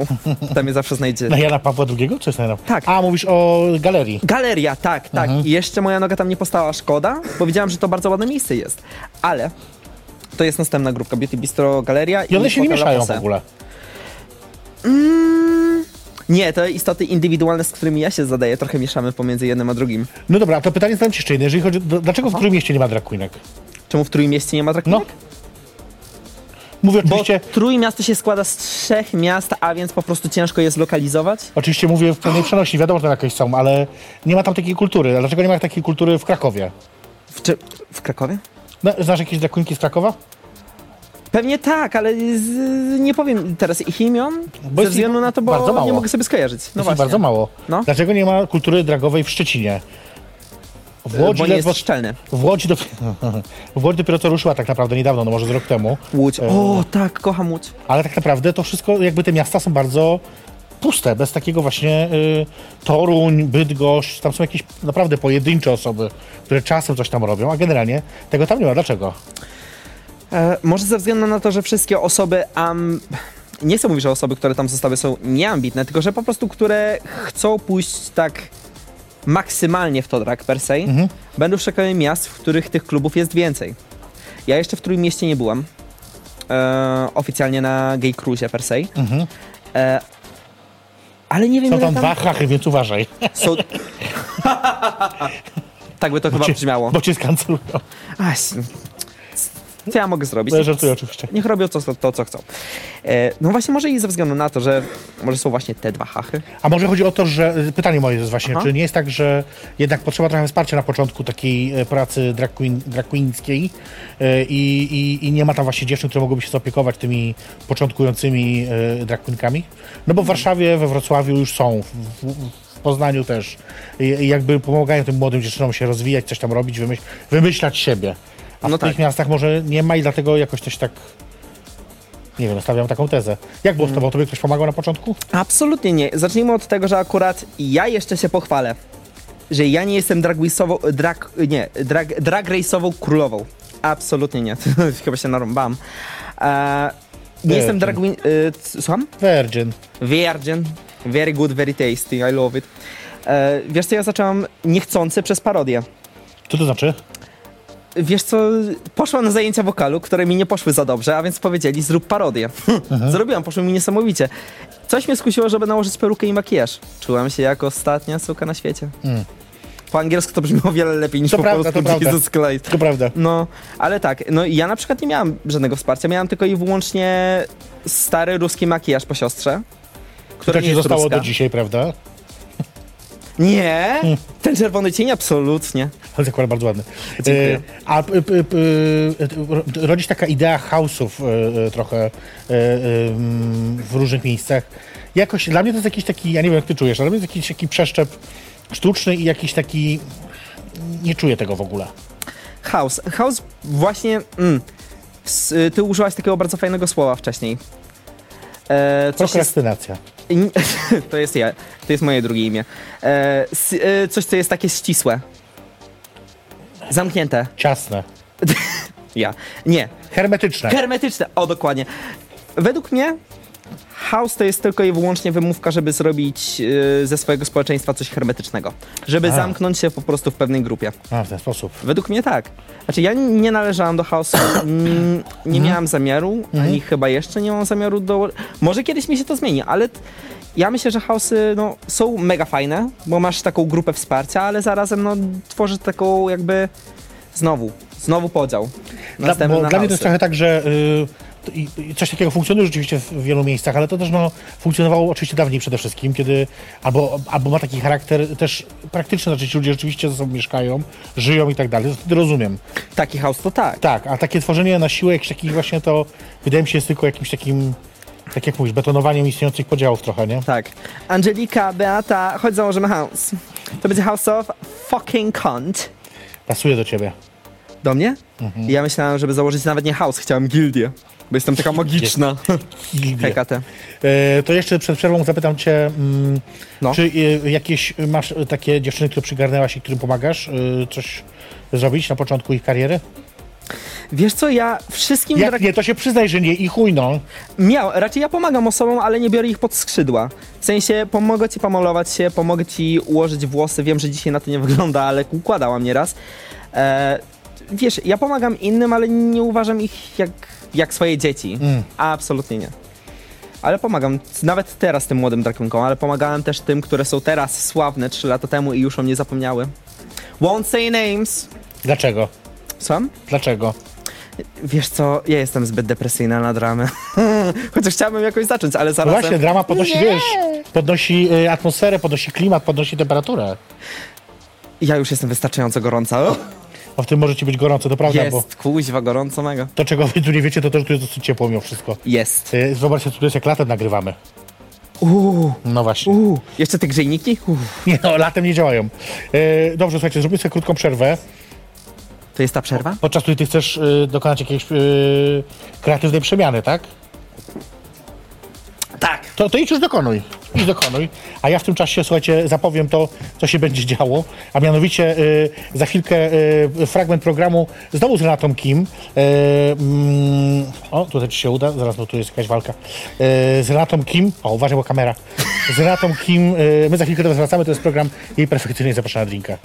Speaker 3: Tam je zawsze znajdzie.
Speaker 2: Na Jana Pawła II czy jest na Jana
Speaker 3: Tak.
Speaker 2: A, mówisz o galerii.
Speaker 3: Galeria, tak, tak.
Speaker 2: Mhm.
Speaker 3: I jeszcze moja noga tam nie postała, szkoda, bo widziałam, że to bardzo ładne miejsce jest. Ale to jest następna grupka, Beauty Bistro, Galeria
Speaker 2: I one się nie
Speaker 3: potem La
Speaker 2: mieszają w
Speaker 3: Posse.
Speaker 2: ogóle.
Speaker 3: Mm, nie, to istoty indywidualne, z którymi ja się zadaję, trochę mieszamy pomiędzy jednym a drugim.
Speaker 2: No dobra, a to pytanie zadam ci jeszcze jedno. Jeżeli chodzi, do, dlaczego w Trójmieście nie ma drag queenek?
Speaker 3: Czemu w Trójmieście nie ma drag
Speaker 2: No.
Speaker 3: queenek?
Speaker 2: Mówię
Speaker 3: Bo
Speaker 2: oczywiście,
Speaker 3: Trójmiasto się składa z trzech miast, a więc po prostu ciężko je zlokalizować.
Speaker 2: oczywiście mówię w pełnej przenośni, wiadomo, że tam jakieś są, ale nie ma tam takiej kultury. A Dlaczego nie ma takiej kultury w Krakowie?
Speaker 3: W, czy, w Krakowie?
Speaker 2: No, znasz jakieś drag queenki z Krakowa?
Speaker 3: Pewnie tak, ale z, nie powiem teraz ich imion,
Speaker 2: Bo jest
Speaker 3: ze
Speaker 2: ich
Speaker 3: względu na to, bo
Speaker 2: bardzo mało.
Speaker 3: nie mogę sobie skojarzyć.
Speaker 2: No
Speaker 3: No właśnie.
Speaker 2: bardzo mało.
Speaker 3: No.
Speaker 2: Dlaczego nie ma kultury dragowej w Szczecinie? W Łodzi,
Speaker 3: Bo nie
Speaker 2: ledwo-
Speaker 3: jest szczelny.
Speaker 2: w Łodzi, dopiero, w Łodzi dopiero co ruszyła tak naprawdę niedawno, no może z rok temu.
Speaker 3: Łódź. O, tak, kocham Łódź.
Speaker 2: Ale tak naprawdę to wszystko, jakby te miasta są bardzo puste, bez takiego właśnie y, Toruń, Bydgoszcz, tam są jakieś naprawdę pojedyncze osoby, które czasem coś tam robią, a generalnie tego tam nie ma. Dlaczego?
Speaker 3: E, może ze względu na to, że wszystkie osoby am... Nie chcę mówić, że osoby, które tam zostały są nieambitne, tylko że po prostu, które chcą pójść tak maksymalnie w to drag per se,
Speaker 2: Mhm.
Speaker 3: będą szukały miast, w których tych klubów jest więcej. Ja jeszcze w Trójmieście nie byłam. E, oficjalnie na gay cruise per se. E, ale nie wiem,
Speaker 2: Mhm. Są
Speaker 3: ile
Speaker 2: tam dwa hachy, więc uważaj,
Speaker 3: Są... tak by to chyba brzmiało.
Speaker 2: bo cię skancelują.
Speaker 3: Aś, co ja mogę zrobić?
Speaker 2: No, ja żartuję oczywiście.
Speaker 3: Niech robią to, to, co chcą. E, no właśnie może i ze względu na to, że może są właśnie te dwa hachy.
Speaker 2: A może chodzi o to, że y, pytanie moje jest właśnie,
Speaker 3: Aha.
Speaker 2: czy nie jest tak, że jednak potrzeba trochę wsparcia na początku takiej e, pracy drag, queen, drag queenskiej e, i, i, i nie ma tam właśnie dziewczyn, które mogłyby się zaopiekować tymi początkującymi e, drag queenkami? No bo w Warszawie, we Wrocławiu już są, w, w, w Poznaniu też. I, i jakby pomagają tym młodym dziewczynom się rozwijać, coś tam robić, wymyśl, wymyślać siebie. A
Speaker 3: No
Speaker 2: w tych
Speaker 3: tak.
Speaker 2: miastach może nie ma i dlatego jakoś coś tak... Nie wiem, stawiam taką tezę. Jak było z
Speaker 3: Mm.
Speaker 2: tobą? Tobie ktoś pomagał na początku?
Speaker 3: Absolutnie nie. Zacznijmy od tego, że akurat ja jeszcze się pochwalę, że ja nie jestem drag race'ową, drag, nie, drag, drag race'ową królową. Absolutnie nie. Chyba się narąbam. E, nie jestem drag... win- E, c- słucham?
Speaker 2: Virgin.
Speaker 3: Virgin. Very good, very tasty. I love it. E, wiesz co, ja zacząłem niechcący przez parodię.
Speaker 2: Co to znaczy?
Speaker 3: Wiesz co, poszłam na zajęcia wokalu, które mi nie poszły za dobrze, a więc powiedzieli zrób parodię.
Speaker 2: Mhm.
Speaker 3: Zrobiłam, poszło mi niesamowicie. Coś mnie skusiło, żeby nałożyć perukę i makijaż. Czułam się jak ostatnia suka na świecie. Po angielsku to brzmi o wiele lepiej niż
Speaker 2: Mm. To
Speaker 3: po
Speaker 2: prawda,
Speaker 3: polsku.
Speaker 2: to prawda.
Speaker 3: Jesus Christ.
Speaker 2: To prawda.
Speaker 3: No, ale tak, no ja na przykład nie miałam żadnego wsparcia, miałam tylko i wyłącznie stary ruski makijaż po siostrze.
Speaker 2: To
Speaker 3: Która nie
Speaker 2: ci
Speaker 3: jest
Speaker 2: Tak zostało
Speaker 3: ruska.
Speaker 2: do Mm. dzisiaj, prawda?
Speaker 3: Nie, ten czerwony cień absolutnie.
Speaker 2: Ale zakład bardzo ładny.
Speaker 3: Dziękuję.
Speaker 2: E, A p, p, p, e, rodzi się taka idea chaosów e, e, trochę e, e, mm, w różnych miejscach. Jakoś dla mnie to jest jakiś taki, ja nie wiem jak ty czujesz, ale dla mnie to jest jakiś taki przeszczep sztuczny i jakiś taki, nie czuję tego w ogóle.
Speaker 3: House. House właśnie. Mm, s- y, ty użyłaś takiego bardzo fajnego słowa wcześniej. E, coś jest,
Speaker 2: Prokrastynacja.
Speaker 3: to jest ja, to jest moje drugie imię. E, s, e, coś, co jest takie ścisłe. Zamknięte.
Speaker 2: Ciasne.
Speaker 3: Ja. Nie.
Speaker 2: Hermetyczne.
Speaker 3: Hermetyczne. O, dokładnie. Według mnie house to jest tylko i wyłącznie wymówka, żeby zrobić y, ze swojego społeczeństwa coś hermetycznego. Żeby
Speaker 2: A.
Speaker 3: zamknąć się po prostu w pewnej grupie.
Speaker 2: A, w ten sposób.
Speaker 3: Według mnie tak. Znaczy ja nie należałam do chaosu, mm, nie
Speaker 2: Mhm.
Speaker 3: miałam zamiaru, ani chyba jeszcze nie mam zamiaru do... Może kiedyś mi się to zmieni, ale t- ja myślę, że chaosy no, są mega fajne, bo masz taką grupę wsparcia, ale zarazem no, tworzy taką jakby znowu, znowu podział.
Speaker 2: Dla,
Speaker 3: Następny
Speaker 2: bo
Speaker 3: na
Speaker 2: dla mnie to jest trochę
Speaker 3: chaosy.
Speaker 2: tak, że y, to- i- i coś takiego funkcjonuje rzeczywiście w wielu miejscach, ale to też no, funkcjonowało oczywiście dawniej przede wszystkim, kiedy albo, albo ma taki charakter też praktyczny, znaczy ci ludzie rzeczywiście ze sobą mieszkają, żyją i tak dalej, to wtedy rozumiem.
Speaker 3: Taki chaos to tak.
Speaker 2: Tak, a takie tworzenie na siłę jakichś takich właśnie to wydaje mi się jest tylko jakimś takim, tak jak mówisz, betonowaniem istniejących podziałów trochę, nie?
Speaker 3: Tak. Angelika, Beata, chodź założymy house. To będzie house of fucking cunt.
Speaker 2: Pasuje do ciebie.
Speaker 3: Do mnie? Ja myślałem, żeby założyć nawet nie house, chciałem gildię. Bo jestem taka magiczna.
Speaker 2: Gildia.
Speaker 3: Hekate.
Speaker 2: E, to jeszcze przed przerwą zapytam cię, mm,
Speaker 3: No.
Speaker 2: czy e, jakieś e, masz e, takie dziewczyny, które przygarnęłaś i którym pomagasz e, coś zrobić na początku ich kariery?
Speaker 3: Wiesz co, ja wszystkim
Speaker 2: Jak
Speaker 3: brak...
Speaker 2: nie, to się przyznaj, że nie i chuj no.
Speaker 3: miał, raczej ja pomagam osobom, ale nie biorę ich pod skrzydła. W sensie pomogę ci pomalować się, pomogę ci ułożyć włosy. Wiem, że dzisiaj na to nie wygląda, ale układałam nieraz. E, wiesz, ja pomagam innym, ale nie uważam ich jak, jak swoje dzieci. Absolutnie nie. Ale pomagam nawet teraz tym młodym drakonkom, ale pomagałem też tym, które są teraz sławne 3 lata temu i już o mnie zapomniały. Won't say names.
Speaker 2: Dlaczego?
Speaker 3: Słucham?
Speaker 2: Dlaczego?
Speaker 3: Wiesz co, ja jestem zbyt depresyjna na dramę. Chociaż chciałbym jakoś zacząć, ale
Speaker 2: No
Speaker 3: zarazem...
Speaker 2: właśnie, drama podnosi, wiesz, podnosi e, atmosferę, podnosi klimat, podnosi temperaturę.
Speaker 3: Ja już jestem wystarczająco gorąca. O,
Speaker 2: Bo w tym może ci być gorąco, to prawda, bo
Speaker 3: jest, kuźwa, gorąco mega.
Speaker 2: to, czego wy tu nie wiecie, to to, że tu jest dosyć ciepło mimo wszystko.
Speaker 3: Jest.
Speaker 2: E, Zobaczcie, co tu jest, jak latem nagrywamy.
Speaker 3: Uuu,
Speaker 2: No właśnie.
Speaker 3: uuu. Jeszcze te grzejniki? Uff.
Speaker 2: Nie no, latem nie działają. E, dobrze, słuchajcie, zrobimy sobie krótką przerwę.
Speaker 3: To jest ta przerwa?
Speaker 2: Podczas której ty chcesz y, dokonać jakiejś y, kreatywnej przemiany, tak?
Speaker 3: Tak.
Speaker 2: To, to idź już dokonuj. Idź dokonuj. A ja w tym czasie, słuchajcie, zapowiem to, co się będzie działo. A mianowicie y, za chwilkę y, fragment programu znowu z Renatą Kim. Y, mm, o, tutaj ci się uda. Zaraz, bo tu jest jakaś walka. Y, z Renatą Kim. O, uważaj, bo kamera. Z Renatą Kim. Y, my za chwilkę do was wracamy. To jest program jej perfekcyjnej zapraszam na drinka.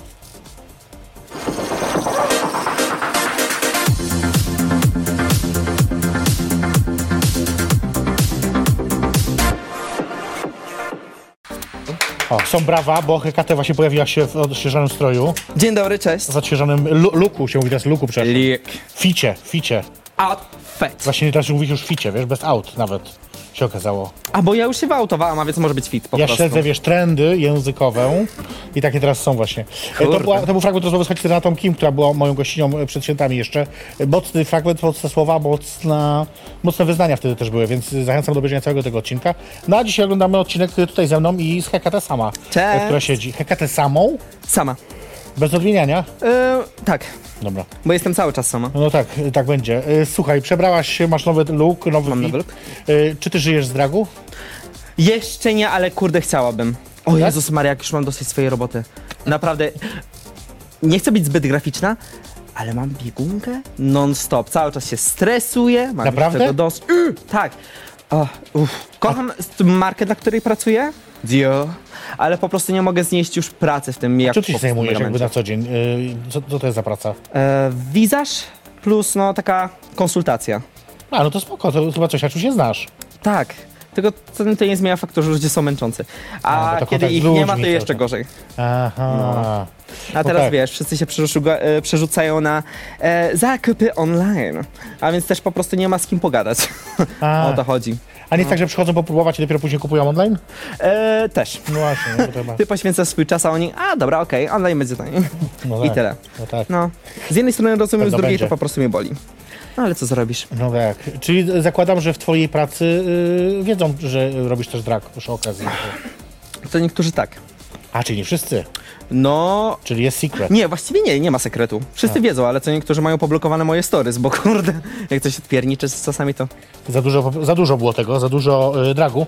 Speaker 2: O, są brawa, bo Hekate właśnie pojawiła się w odświeżonym stroju.
Speaker 3: Dzień dobry, cześć.
Speaker 2: W odświeżonym lu- luku, się mówi teraz luku, przepraszam.
Speaker 3: Lik.
Speaker 2: Ficie, ficie.
Speaker 3: Outfit.
Speaker 2: Właśnie teraz mówisz już ficie, wiesz, bez aut nawet się okazało.
Speaker 3: A bo ja już się wyautowałam, a więc może być fit po
Speaker 2: Ja
Speaker 3: prostu.
Speaker 2: śledzę, wiesz, trendy językowe i takie teraz są właśnie. E, To,
Speaker 3: Kurde.
Speaker 2: była, to był fragment rozmowy z Haczynatom Kim, która była moją gościnią e, przed świętami jeszcze. E, Mocny fragment, mocne słowa, mocna, mocne wyznania wtedy też były, więc zachęcam do obejrzenia całego tego odcinka. No a dzisiaj oglądamy odcinek tutaj ze mną i z Hekatę sama,
Speaker 3: Cześć.
Speaker 2: e, która siedzi. Hekatę samą,
Speaker 3: Sama.
Speaker 2: bez odmieniania.
Speaker 3: Yy, tak,
Speaker 2: Dobra.
Speaker 3: bo jestem cały czas sama.
Speaker 2: No tak, tak będzie. Y, Słuchaj, przebrałaś się, masz nowy look, nowy
Speaker 3: Mam
Speaker 2: fit.
Speaker 3: nowy look. Tak,
Speaker 2: Y, Czy ty żyjesz z dragu?
Speaker 3: Jeszcze nie, ale kurde chciałabym. O
Speaker 2: Tak?
Speaker 3: Jezus Maria, jak już mam dosyć swojej roboty. Naprawdę, nie chcę być zbyt graficzna, ale mam biegunkę non-stop. Cały czas się stresuję, mam
Speaker 2: Naprawdę?
Speaker 3: już tego dos... Yy, tak. O, uff. Kocham s- markę, dla której pracuję, Dio, ale po prostu nie mogę znieść już pracy w tym, jak
Speaker 2: Czy ty się
Speaker 3: po- w tym
Speaker 2: zajmujesz jakby
Speaker 3: momencie.
Speaker 2: na co dzień? Y, Co, co to jest za praca?
Speaker 3: E, Wizaż plus no taka konsultacja.
Speaker 2: A, no to spoko, to chyba coś, Aciu, się znasz.
Speaker 3: Tak. Tylko to, to nie zmienia faktu, że ludzie są męczący. A
Speaker 2: bo to
Speaker 3: kiedy
Speaker 2: kontakt z
Speaker 3: ich nie ma, to
Speaker 2: ludźmi
Speaker 3: jeszcze
Speaker 2: cały czas.
Speaker 3: gorzej.
Speaker 2: Aha.
Speaker 3: A
Speaker 2: No
Speaker 3: teraz
Speaker 2: tak.
Speaker 3: wiesz, wszyscy się przerzucu- e, przerzucają na e, zakupy online, a więc też po prostu nie ma z kim pogadać.
Speaker 2: A.
Speaker 3: o to chodzi.
Speaker 2: A nie jest tak, że przychodzą popróbować i dopiero później kupują online?
Speaker 3: E, też.
Speaker 2: No właśnie, no to chyba.
Speaker 3: Ty poświęcasz swój czas, a oni, a dobra, okej, online będzie taniej.
Speaker 2: No
Speaker 3: I
Speaker 2: tak,
Speaker 3: tyle.
Speaker 2: No tak.
Speaker 3: No. Z jednej strony rozumiem, z
Speaker 2: Pewno
Speaker 3: drugiej
Speaker 2: będzie.
Speaker 3: to po prostu mnie boli. No ale co zrobisz?
Speaker 2: No tak. Czyli zakładam, że w twojej pracy y, wiedzą, że robisz też drag przy okazji.
Speaker 3: To niektórzy tak.
Speaker 2: A, czyli nie wszyscy.
Speaker 3: No,
Speaker 2: Czyli jest secret.
Speaker 3: nie, właściwie nie, nie ma sekretu. Wszyscy wiedzą, ale co niektórzy mają poblokowane moje stories, bo kurde, jak coś odpierniczy z czasami to...
Speaker 2: Za dużo, po- za dużo było tego, za dużo y, dragu.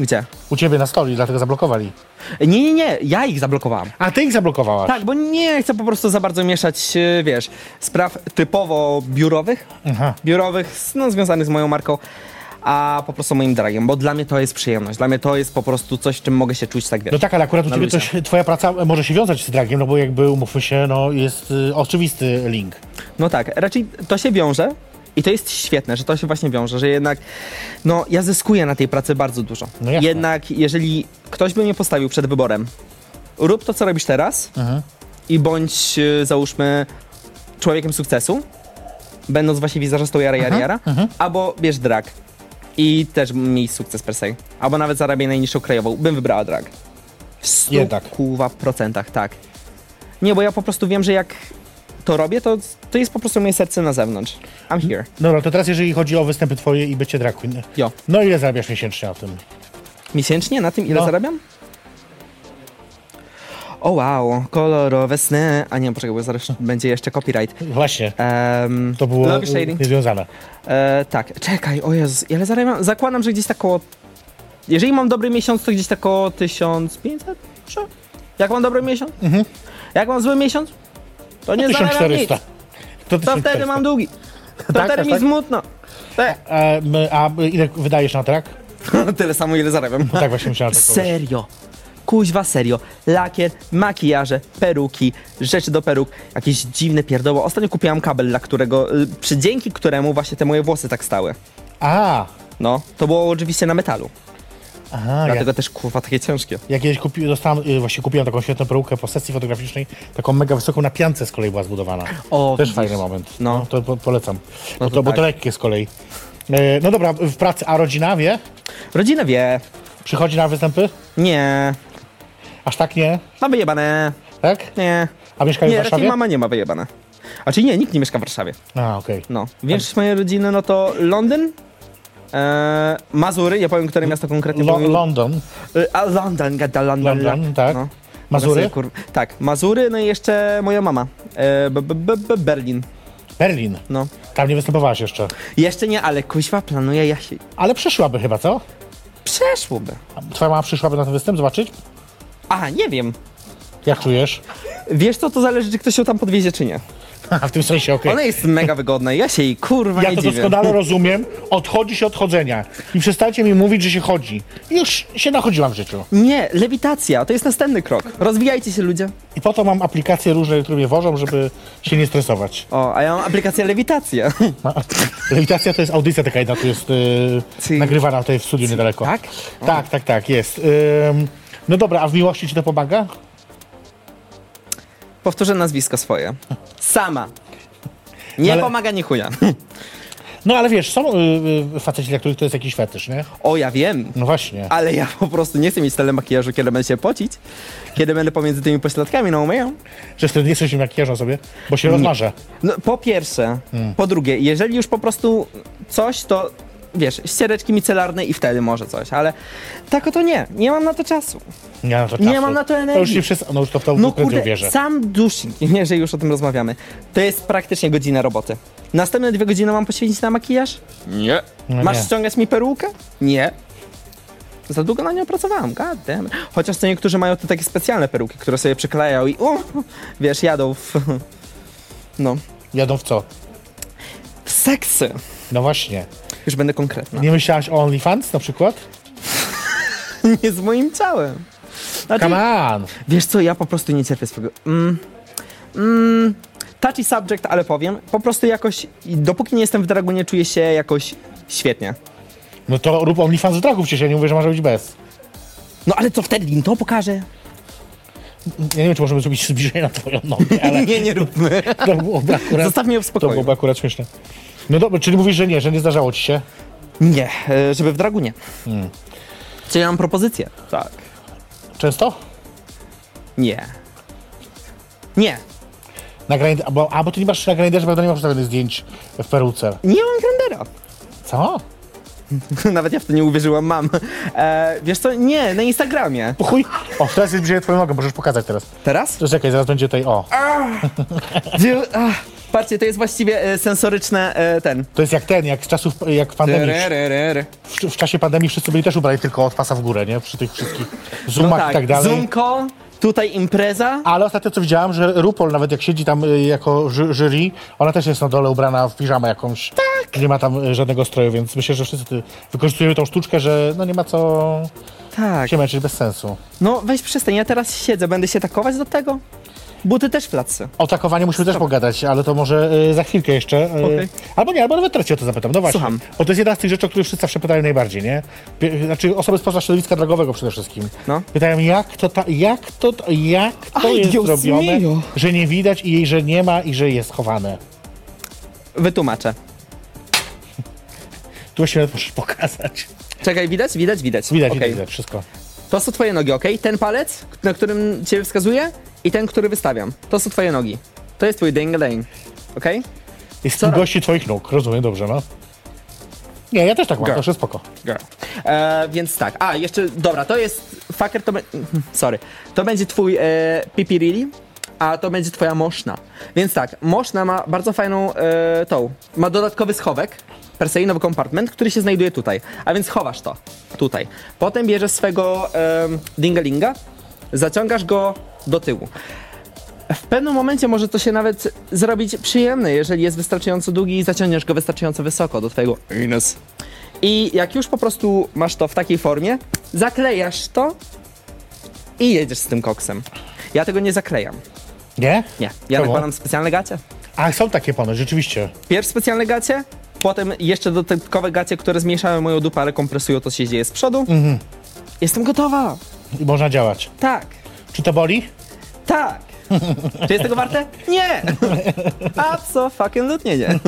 Speaker 3: Gdzie?
Speaker 2: U ciebie na stoli, dlatego zablokowali.
Speaker 3: Nie, nie, nie, ja ich zablokowałam.
Speaker 2: A ty ich zablokowałaś.
Speaker 3: Tak, bo nie chcę po prostu za bardzo mieszać, e, wiesz, spraw typowo biurowych,
Speaker 2: Aha.
Speaker 3: biurowych, s- no, związanych z moją marką, a po prostu moim dragiem, bo dla mnie to jest przyjemność, dla mnie to jest po prostu coś, czym mogę się czuć tak, wiesz.
Speaker 2: No tak, ale akurat u
Speaker 3: Na
Speaker 2: ciebie
Speaker 3: luzie.
Speaker 2: coś, twoja praca może się wiązać z dragiem, no bo jakby, umówmy się, no jest y, oczywisty link.
Speaker 3: No tak, raczej to się wiąże i to jest świetne, że to się właśnie wiąże, że jednak, no ja zyskuję na tej pracy bardzo dużo.
Speaker 2: No jasne.
Speaker 3: jednak jeżeli ktoś by mnie postawił przed wyborem, rób to, co robisz teraz
Speaker 2: Mhm.
Speaker 3: i bądź, y, załóżmy, człowiekiem sukcesu, będąc właśnie wizerzystą jara, jara, jara, albo bierz drag i też miej sukces per se, albo nawet zarabiaj najniższą krajową, bym wybrała drag. W stu,
Speaker 2: Jednak.
Speaker 3: kurwa procentach, tak. Nie, bo ja po prostu wiem, że jak to robię, to, to jest po prostu moje serce na zewnątrz. I'm here.
Speaker 2: Dobra, No, to teraz jeżeli chodzi o występy twoje i bycie drag queen.
Speaker 3: Jo.
Speaker 2: No ile zarabiasz miesięcznie na tym?
Speaker 3: Miesięcznie na tym ile
Speaker 2: No.
Speaker 3: zarabiam? O wow, kolorowe sny. A nie, poczekaj, bo zaraz
Speaker 2: Hm.
Speaker 3: będzie jeszcze copyright.
Speaker 2: Właśnie,
Speaker 3: Tak. Em,
Speaker 2: to było
Speaker 3: Love is
Speaker 2: y,
Speaker 3: shading.
Speaker 2: niezwiązane.
Speaker 3: E, tak, czekaj, o Jezus, ile zarabiam? Zakładam, że gdzieś tak koło... Jeżeli mam dobry miesiąc, to gdzieś tak koło 1500? Czy? Jak mam dobry miesiąc? Jak mam zły miesiąc? To nie zarabiam nic.
Speaker 2: 1400. To
Speaker 3: To wtedy mam długi. To
Speaker 2: Tak,
Speaker 3: wtedy
Speaker 2: aż
Speaker 3: mi
Speaker 2: tak?
Speaker 3: smutno. Te.
Speaker 2: E, my- A, y, ile wydajesz na drag?
Speaker 3: Tyle samo, ile zarabiam.
Speaker 2: No tak właśnie myślałem. że powiesz.
Speaker 3: Serio. Kuźwa serio. Lakier, makijaże, peruki, rzeczy do peruk, jakieś dziwne pierdoło. Ostatnio kupiłam kabel, dla którego, y, przy dzięki któremu właśnie te moje włosy tak stały.
Speaker 2: A,
Speaker 3: No, to było oczywiście na metalu.
Speaker 2: aha, ja,
Speaker 3: Dlatego też kurwa takie ciężkie.
Speaker 2: ja kiedyś kupi, dostałem, y, właśnie kupiłem taką świetną perukę po sesji fotograficznej, taką mega wysoką na piance z kolei była zbudowana.
Speaker 3: O,
Speaker 2: Też
Speaker 3: widzisz.
Speaker 2: fajny moment.
Speaker 3: No.
Speaker 2: No, to po, polecam. bo,
Speaker 3: to
Speaker 2: to, bo to
Speaker 3: tak.
Speaker 2: lekkie z kolei. E, no dobra, w pracy, a rodzina wie?
Speaker 3: Rodzina wie.
Speaker 2: Przychodzi na występy?
Speaker 3: Nie.
Speaker 2: Aż tak nie,
Speaker 3: Ma wyjebane.
Speaker 2: tak?
Speaker 3: Nie.
Speaker 2: A mieszkają w
Speaker 3: Nie, raczej
Speaker 2: Warszawie?
Speaker 3: mama nie ma wyjebane. A czyli nie, nikt nie mieszka w Warszawie.
Speaker 2: A, okej.
Speaker 3: No.
Speaker 2: Tak.
Speaker 3: Większość mojej rodziny, no to Londyn, e, Mazury, ja powiem, które miasto konkretnie.
Speaker 2: Lo-
Speaker 3: bo mi-
Speaker 2: London,
Speaker 3: Y, A London, gada London.
Speaker 2: London, tak. Mazury,
Speaker 3: Kur... Tak, Mazury, no i jeszcze moja mama. E, b, b, b, b, Berlin,
Speaker 2: Berlin.
Speaker 3: no.
Speaker 2: Tam nie występowałaś jeszcze.
Speaker 3: Jeszcze nie, ale kuźwa planuje, ja się...
Speaker 2: Ale przyszłaby chyba, co?
Speaker 3: Przeszłoby.
Speaker 2: Twoja mama przyszłaby na ten występ zobaczyć?
Speaker 3: Aha, nie wiem.
Speaker 2: Jak czujesz?
Speaker 3: Wiesz co, to zależy, czy ktoś ją tam podwiezie, czy nie.
Speaker 2: w tym sensie, okej.
Speaker 3: Ona jest mega wygodna, ja się jej kurwa
Speaker 2: Ja
Speaker 3: nie
Speaker 2: to
Speaker 3: dziwię.
Speaker 2: doskonale rozumiem. Odchodzi się od chodzenia. I przestańcie mi mówić, że się chodzi. Już się nachodziłam w życiu.
Speaker 3: Nie, lewitacja, to jest następny krok. Rozwijajcie się, ludzie.
Speaker 2: I po to mam aplikacje różne, które mnie wożą, żeby się nie stresować.
Speaker 3: O, a ja mam aplikację lewitacja.
Speaker 2: Ma- Lewitacja to jest audycja taka jedna, tu jest
Speaker 3: Ci-
Speaker 2: yy, nagrywana tutaj w studiu niedaleko.
Speaker 3: tak?
Speaker 2: Tak, tak, tak, jest. Ym, no dobra, a w miłości ci to pomaga?
Speaker 3: Powtórzę nazwisko swoje. Sama. Nie
Speaker 2: No ale-
Speaker 3: pomaga, nie chuja.
Speaker 2: No ale wiesz, są yy, yy, faceci, dla których to jest jakiś fetysz, nie?
Speaker 3: O, ja wiem.
Speaker 2: No właśnie.
Speaker 3: Ale ja po prostu nie chcę mieć tyle makijażu, kiedy będę się pocić, kiedy będę pomiędzy tymi pośladkami, no umieją.
Speaker 2: Że wtedy nie chcesz się makijażu sobie, bo się rozmarzę.
Speaker 3: No, po pierwsze.
Speaker 2: Hmm.
Speaker 3: Po drugie, jeżeli już po prostu coś, to wiesz, ściereczki micelarne i wtedy może coś, ale tak oto nie. Nie mam na to czasu.
Speaker 2: Nie, mam na to
Speaker 3: Nie
Speaker 2: czasu.
Speaker 3: mam na to
Speaker 2: To już
Speaker 3: energii.
Speaker 2: nie wszystko, no już to w to
Speaker 3: No
Speaker 2: prędzej
Speaker 3: kurde,
Speaker 2: wierzę.
Speaker 3: sam dusznik, jeżeli już o tym rozmawiamy, to jest praktycznie godzina roboty. Następne dwie godziny mam poświęcić na makijaż? Nie.
Speaker 2: No
Speaker 3: Masz
Speaker 2: nie.
Speaker 3: ściągać mi perukę? Nie. Za długo na nią pracowałam, god damn. Chociaż to niektórzy mają te takie specjalne peruki, które sobie przyklejają i uh, wiesz, jadą w... No.
Speaker 2: Jadą w co?
Speaker 3: W seksy.
Speaker 2: No właśnie.
Speaker 3: Już będę konkretna.
Speaker 2: Nie myślałaś o OnlyFans na przykład?
Speaker 3: Nie z moim ciałem. Znaczy,
Speaker 2: Come on!
Speaker 3: wiesz co, ja po prostu nie cierpię swego... Mm, mm, touchy subject, ale powiem. Po prostu jakoś, dopóki nie jestem w dragu, nie czuję się jakoś świetnie.
Speaker 2: No to rób OnlyFans z dragów, przecież ja nie mówię, że może być bez.
Speaker 3: No ale co wtedy? Lin To pokaże.
Speaker 2: Ja nie wiem, czy możemy zrobić zbliżenie na twoją nogę, ale
Speaker 3: Nie, nie róbmy.
Speaker 2: to byłoby akurat...
Speaker 3: Zostaw mnie w
Speaker 2: To
Speaker 3: spokoju.
Speaker 2: byłoby akurat śmieszne. No dobra, czyli mówisz, że nie, że nie zdarzało ci się?
Speaker 3: Nie, e, żeby w dragu nie. Czy ja mam propozycję? Hmm. Tak.
Speaker 2: Często?
Speaker 3: Nie. Nie.
Speaker 2: Na grind, a, bo, a bo ty nie masz na grinderze, prawda, nie masz ustawionych zdjęć w peruce.
Speaker 3: Nie mam grandera.
Speaker 2: Co?
Speaker 3: Nawet ja w to nie uwierzyłam, mam. E, wiesz co, nie, na Instagramie.
Speaker 2: Po chuj! O, teraz jest bliżej twoją nogę, możesz pokazać teraz.
Speaker 3: Teraz?
Speaker 2: Czekaj, zaraz będzie tej, o.
Speaker 3: Dzie- ach, Patrzcie, to jest właściwie e, sensoryczne e, ten.
Speaker 2: To jest jak ten, jak z czasów, jak pandemii. W, w czasie pandemii wszyscy byli też ubrani tylko od pasa w górę, nie? Przy tych wszystkich zoomach
Speaker 3: No
Speaker 2: i tak dalej.
Speaker 3: Zoomko, tutaj impreza.
Speaker 2: Ale ostatnio co widziałem, że RuPaul nawet jak siedzi tam y, jako ży- jury, ona też jest na dole ubrana w piżamę jakąś. Tak. Nie ma tam y, żadnego stroju, więc myślę, że wszyscy wykorzystują tą sztuczkę, że no nie ma co
Speaker 3: Tak.
Speaker 2: się męczyć bez sensu.
Speaker 3: No weź przestań, ja teraz siedzę, będę się takować do tego. Buty też w klatce.
Speaker 2: O takowaniu musimy też pogadać, ale to może y, za chwilkę jeszcze. y,
Speaker 3: Okej.
Speaker 2: Albo nie, albo nawet teraz cię o to zapytam. No właśnie.
Speaker 3: Słucham.
Speaker 2: Bo to jest jedna z tych rzeczy, o których wszyscy zawsze pytają najbardziej, nie? Pie- Znaczy osoby spoza środowiska drogowego przede wszystkim.
Speaker 3: No.
Speaker 2: Pytają, jak to, ta, jak to, jak to
Speaker 3: Ay,
Speaker 2: jest
Speaker 3: Dios
Speaker 2: zrobione,
Speaker 3: mio.
Speaker 2: że nie widać i że nie ma i że jest chowane.
Speaker 3: Wytłumaczę.
Speaker 2: Tu właśnie nawet możesz pokazać.
Speaker 3: Czekaj, widać, widać, widać.
Speaker 2: Widać,
Speaker 3: Okej.
Speaker 2: widać, widać wszystko.
Speaker 3: To są twoje nogi, ok? Ten palec, na którym cię wskazuję i ten, który wystawiam. To są twoje nogi. To jest twój ding dang ok?
Speaker 2: Jest
Speaker 3: Co-
Speaker 2: długości twoich nóg, rozumiem dobrze, no. Nie, ja też tak mam,
Speaker 3: Girl.
Speaker 2: to już jest spoko.
Speaker 3: Girl. E, więc tak. A, jeszcze, dobra, to jest fucker, to be- mhm, sorry. To będzie twój e, pipirili, a to będzie twoja moszna. Więc tak, moszna ma bardzo fajną e, tą. Ma dodatkowy schowek, per se, nowy kompartment, który się znajduje tutaj. A więc chowasz to tutaj. Potem bierzesz swego e, dingalinga, zaciągasz go do tyłu. W pewnym momencie może to się nawet zrobić przyjemne, jeżeli jest wystarczająco długi i zaciągniesz go wystarczająco wysoko do twojego anus. I jak już po prostu masz to w takiej formie, zaklejasz to i jedziesz z tym koksem. Ja tego nie zaklejam.
Speaker 2: Nie?
Speaker 3: Nie. Ja
Speaker 2: Czemu?
Speaker 3: nakładam specjalne gacie.
Speaker 2: A są takie ponoć, rzeczywiście.
Speaker 3: Pierw specjalne gacie, potem jeszcze dodatkowe gacie, które zmniejszają moją dupę, ale kompresują to, co się dzieje z przodu.
Speaker 2: Mhm.
Speaker 3: Jestem gotowa.
Speaker 2: I można działać.
Speaker 3: Tak.
Speaker 2: Czy to boli?
Speaker 3: Tak. Czy jest tego warte? Nie. Absolutnie nie.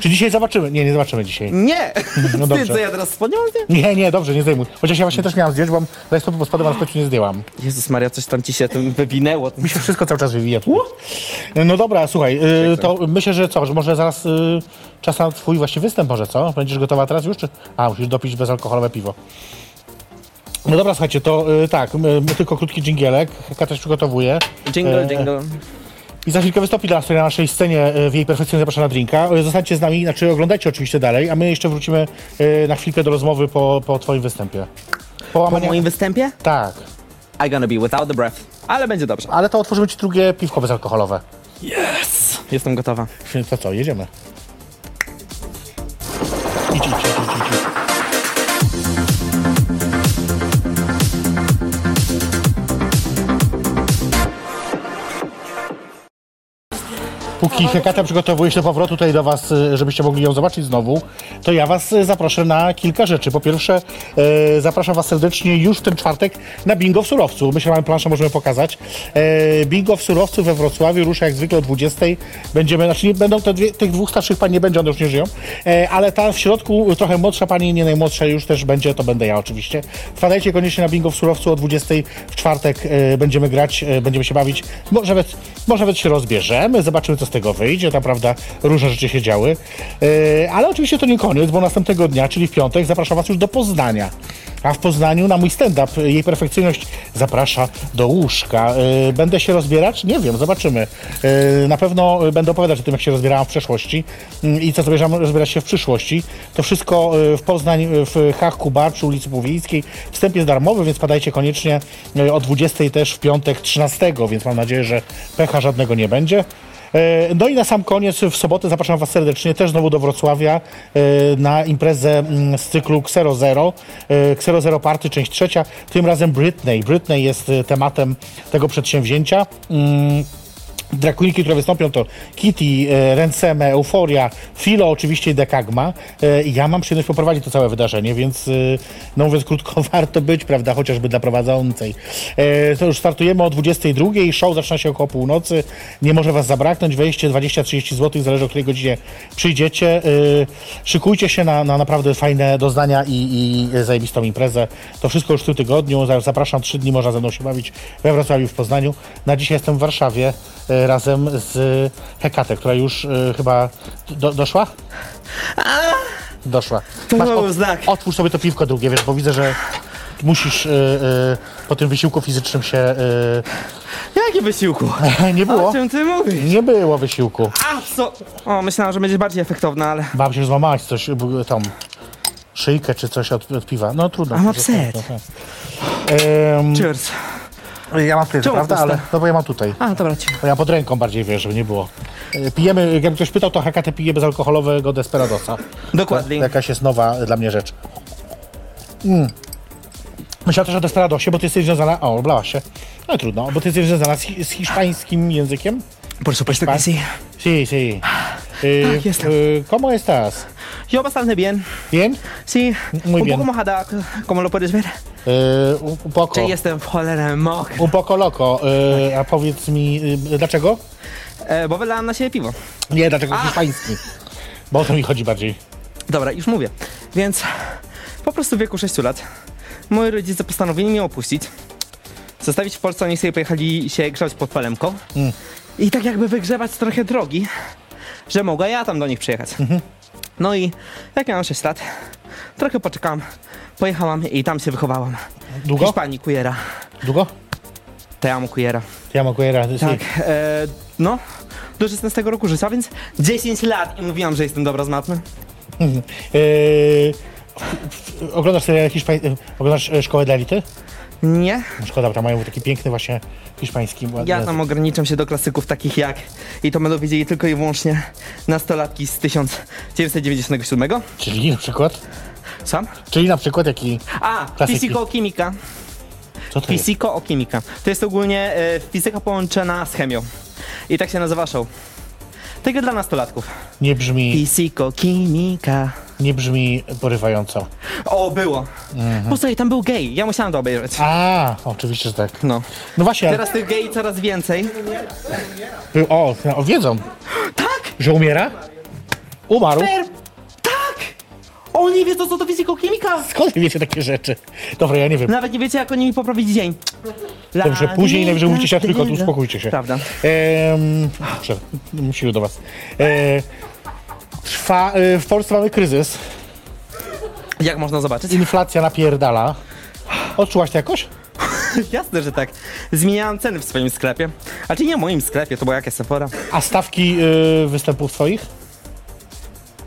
Speaker 2: Czy dzisiaj zobaczymy? Nie, nie zobaczymy dzisiaj.
Speaker 3: Nie!
Speaker 2: No
Speaker 3: Wstyd,
Speaker 2: dobrze.
Speaker 3: że ja teraz spodnią mówię?
Speaker 2: Nie, nie, dobrze, nie zdejmuj. Chociaż ja właśnie też miałam zdjąć, bo daj stopy, bo spadłem, ale w końcu nie zdjęłam.
Speaker 3: Jezus Maria, coś tam ci się tym wywinęło.
Speaker 2: Mi się wszystko cały czas wywija. tu. No dobra, słuchaj, y, to myślę, że co, że może zaraz y, czas na twój właśnie występ może, co? Będziesz gotowa teraz już, czy? A, musisz dopić bezalkoholowe piwo. No dobra, słuchajcie, to y, tak, my, my tylko krótki dżingielek, Heka też przygotowuje.
Speaker 3: Jingle,
Speaker 2: E,
Speaker 3: jingle.
Speaker 2: I za chwilkę wystąpi dla nas tutaj na naszej scenie e, w jej perfekcyjnie zapraszana drinka. E, Zostańcie z nami, znaczy oglądajcie oczywiście dalej, a my jeszcze wrócimy e, na chwilkę do rozmowy po, po twoim występie.
Speaker 3: Po
Speaker 2: Połamanie...
Speaker 3: moim występie?
Speaker 2: Tak,
Speaker 3: I gonna be without the breath. Ale będzie dobrze.
Speaker 2: ale to otworzymy ci drugie piwko bezalkoholowe.
Speaker 3: Yes! Jestem gotowa.
Speaker 2: To co, jedziemy. Idź, idź, idź, idź, idź. Póki Hekata przygotowuje się do powrotu tutaj do Was, y, żebyście mogli ją zobaczyć znowu, to ja Was y, zaproszę na kilka rzeczy. Po pierwsze, e, zapraszam Was serdecznie już w ten czwartek na bingo w Surowcu. Myślę, że mamy planszę, możemy pokazać. E, Bingo w Surowcu we Wrocławiu rusza jak zwykle o 20. Będziemy, znaczy nie będą te dwie, tych dwóch starszych pań nie będzie, one już nie żyją, E, ale ta w środku y, trochę młodsza pani, nie najmłodsza już też będzie, to będę ja oczywiście. Wpadajcie koniecznie na bingo w Surowcu o 20. W czwartek e, będziemy grać, e, będziemy się bawić. Może nawet, może nawet się rozbierzemy, zobaczymy co z tego wyjdzie, naprawdę różne rzeczy się działy. E, ale oczywiście to nie koniec, bo następnego dnia, czyli w piątek, zapraszam Was już do Poznania. A w Poznaniu na mój stand-up e, jej perfekcyjność zaprasza do łóżka. E, Będę się rozbierać? Nie wiem, zobaczymy. E, Na pewno e, będę opowiadać o tym, jak się rozbierałam w przeszłości mm, i co zamierzam rozbierać się w przyszłości. To wszystko e, w Poznań, e, w Haku Bar przy ulicy Półwiejskiej. Wstęp jest darmowy, więc padajcie koniecznie e, o 20 też w piątek 13, więc mam nadzieję, że pecha żadnego nie będzie. E, No i na sam koniec w sobotę zapraszam Was serdecznie też znowu do Wrocławia e, na imprezę mm, z cyklu Xero Zero, e, Xero Zero Party, część trzecia, tym razem Britney. Britney jest e, tematem tego przedsięwzięcia. Mm, Drakuliki, które wystąpią to Kitty, e, Renseme, Euforia, Filo oczywiście i Dekagma. E, i Ja mam przyjemność poprowadzić to całe wydarzenie, więc e, no mówiąc krótko, warto być, prawda, chociażby dla prowadzącej. E, To już startujemy o 22, show zaczyna się około północy, nie może Was zabraknąć, wejście 20-30 zł, zależy o której godzinie przyjdziecie. E, Szykujcie się na, na naprawdę fajne doznania i, i zajebistą imprezę. To wszystko już w tym tygodniu, Za- zapraszam, trzy dni można ze mną się bawić we Wrocławiu, w Poznaniu. Na dzisiaj jestem w Warszawie e, y, razem z Hekatę, która już e, chyba do, doszła? doszła.
Speaker 3: To
Speaker 2: Masz
Speaker 3: był
Speaker 2: ot-
Speaker 3: znak.
Speaker 2: Otwórz sobie to piwko drugie, wiesz, bo widzę, że musisz y, y, po tym wysiłku fizycznym się...
Speaker 3: Jakie wysiłku?
Speaker 2: Y, nie było.
Speaker 3: O czym ty mówisz?
Speaker 2: Nie było wysiłku.
Speaker 3: A, co? O, myślałam, że będzie bardziej efektowna, ale...
Speaker 2: Bałem się, że złamałaś coś, b- tam szyjkę czy coś od, od piwa. No trudno.
Speaker 3: A ma
Speaker 2: Trudno,
Speaker 3: pset.
Speaker 2: trudno, trudno. Em,
Speaker 3: Cheers.
Speaker 2: ja mam tutaj,
Speaker 3: Czemu
Speaker 2: prawda?
Speaker 3: puste?
Speaker 2: Ale, no bo ja mam tutaj.
Speaker 3: A, dobra, ci.
Speaker 2: Bo ja pod ręką bardziej wiesz, żeby nie było. E, Pijemy, jakby ktoś pytał, to hakatę pije bez alkoholowego desperadosa. To
Speaker 3: Dokładnie.
Speaker 2: jakaś jest nowa e, dla mnie rzecz. Mm. Myślałem też o desperadosie, bo ty jesteś związana... O, oblałaś się. No trudno, bo ty jesteś związana z, hi- z hiszpańskim językiem.
Speaker 3: Por supuesto que sí.
Speaker 2: Si, si. Y,
Speaker 3: Tak, jestem.
Speaker 2: ¿Cómo estás?
Speaker 3: Yo bastante bien.
Speaker 2: Bien?
Speaker 3: Sí.
Speaker 2: Muy
Speaker 3: un
Speaker 2: bien.
Speaker 3: poco mojada, como lo puedes ver.
Speaker 2: E, un- un poco...
Speaker 3: Czy jestem w cholerę mok.
Speaker 2: Un poco loco. E, a powiedz mi, e, dlaczego?
Speaker 3: E, bo wylałam na siebie piwo.
Speaker 2: Nie, dlaczego hiszpański? Bo o to mi chodzi bardziej.
Speaker 3: Dobra, już mówię. Więc po prostu w wieku 6 lat moi rodzice postanowili mnie opuścić. Zostawić w Polsce, oni sobie pojechali się grzać pod palemką. I tak jakby wygrzebać trochę drogi, że mogła ja tam do nich przyjechać. No i jak miałam 6 lat, trochę poczekałam, pojechałam i tam się wychowałam. W
Speaker 2: Długo?
Speaker 3: Hiszpanii, Kujera.
Speaker 2: Długo?
Speaker 3: Te amo Kujera.
Speaker 2: Ja mogę radę.
Speaker 3: Tak, e, no, do 16 roku życia, więc 10 lat i mówiłam, że jestem dobra z matmy.
Speaker 2: Eee, w- w- oglądasz serial hiszpań... e, Oglądasz e, Szkołę dla Elity? No
Speaker 3: Nie,
Speaker 2: Szkoda, bo tam mają taki piękny właśnie hiszpański ładny
Speaker 3: ja tam
Speaker 2: język.
Speaker 3: ograniczam się do klasyków takich jak i to będą wiedzieli tylko i wyłącznie nastolatki z 1997.
Speaker 2: Czyli na przykład?
Speaker 3: Sam?
Speaker 2: Czyli na przykład jaki...
Speaker 3: A,
Speaker 2: Klasyki. Tak.
Speaker 3: Fisico Chimica.
Speaker 2: Co to jest?
Speaker 3: Fisico Chimica. To jest ogólnie e, fizyka połączona z chemią. I tak się nazywa show. Tylko dla nastolatków.
Speaker 2: Nie brzmi,
Speaker 3: Fisico Chimica.
Speaker 2: nie brzmi porywająco.
Speaker 3: O, było. Posłuchaj, tam był gej. Ja musiałam to obejrzeć.
Speaker 2: Mhm. A, oczywiście, że tak.
Speaker 3: No.
Speaker 2: No właśnie,
Speaker 3: Teraz tych gej coraz więcej.
Speaker 2: był- o, o, wiedzą,
Speaker 3: Tak!
Speaker 2: że umiera? Umarł?
Speaker 3: Per... Tak! Oni wiedzą, co to fizykochimika!
Speaker 2: Skąd wy wiecie takie rzeczy? Dobra, ja nie wiem.
Speaker 3: Nawet nie wiecie, jak oni mi poprawili dzień. La,
Speaker 2: Dobrze, później
Speaker 3: di,
Speaker 2: najwyżej
Speaker 3: la,
Speaker 2: mówicie się
Speaker 3: di,
Speaker 2: tylko,
Speaker 3: la.
Speaker 2: uspokójcie się.
Speaker 3: Prawda.
Speaker 2: Ehm, dobrze, musimy do was. Ehm, trwa, e, w Polsce mamy kryzys,
Speaker 3: Jak można zobaczyć?
Speaker 2: inflacja napierdala. Odczułaś to jakoś?
Speaker 3: Jasne, że tak. Zmieniałam ceny w swoim sklepie. A czy nie w moim sklepie, to była jakaś Sephora.
Speaker 2: A stawki e, występów swoich?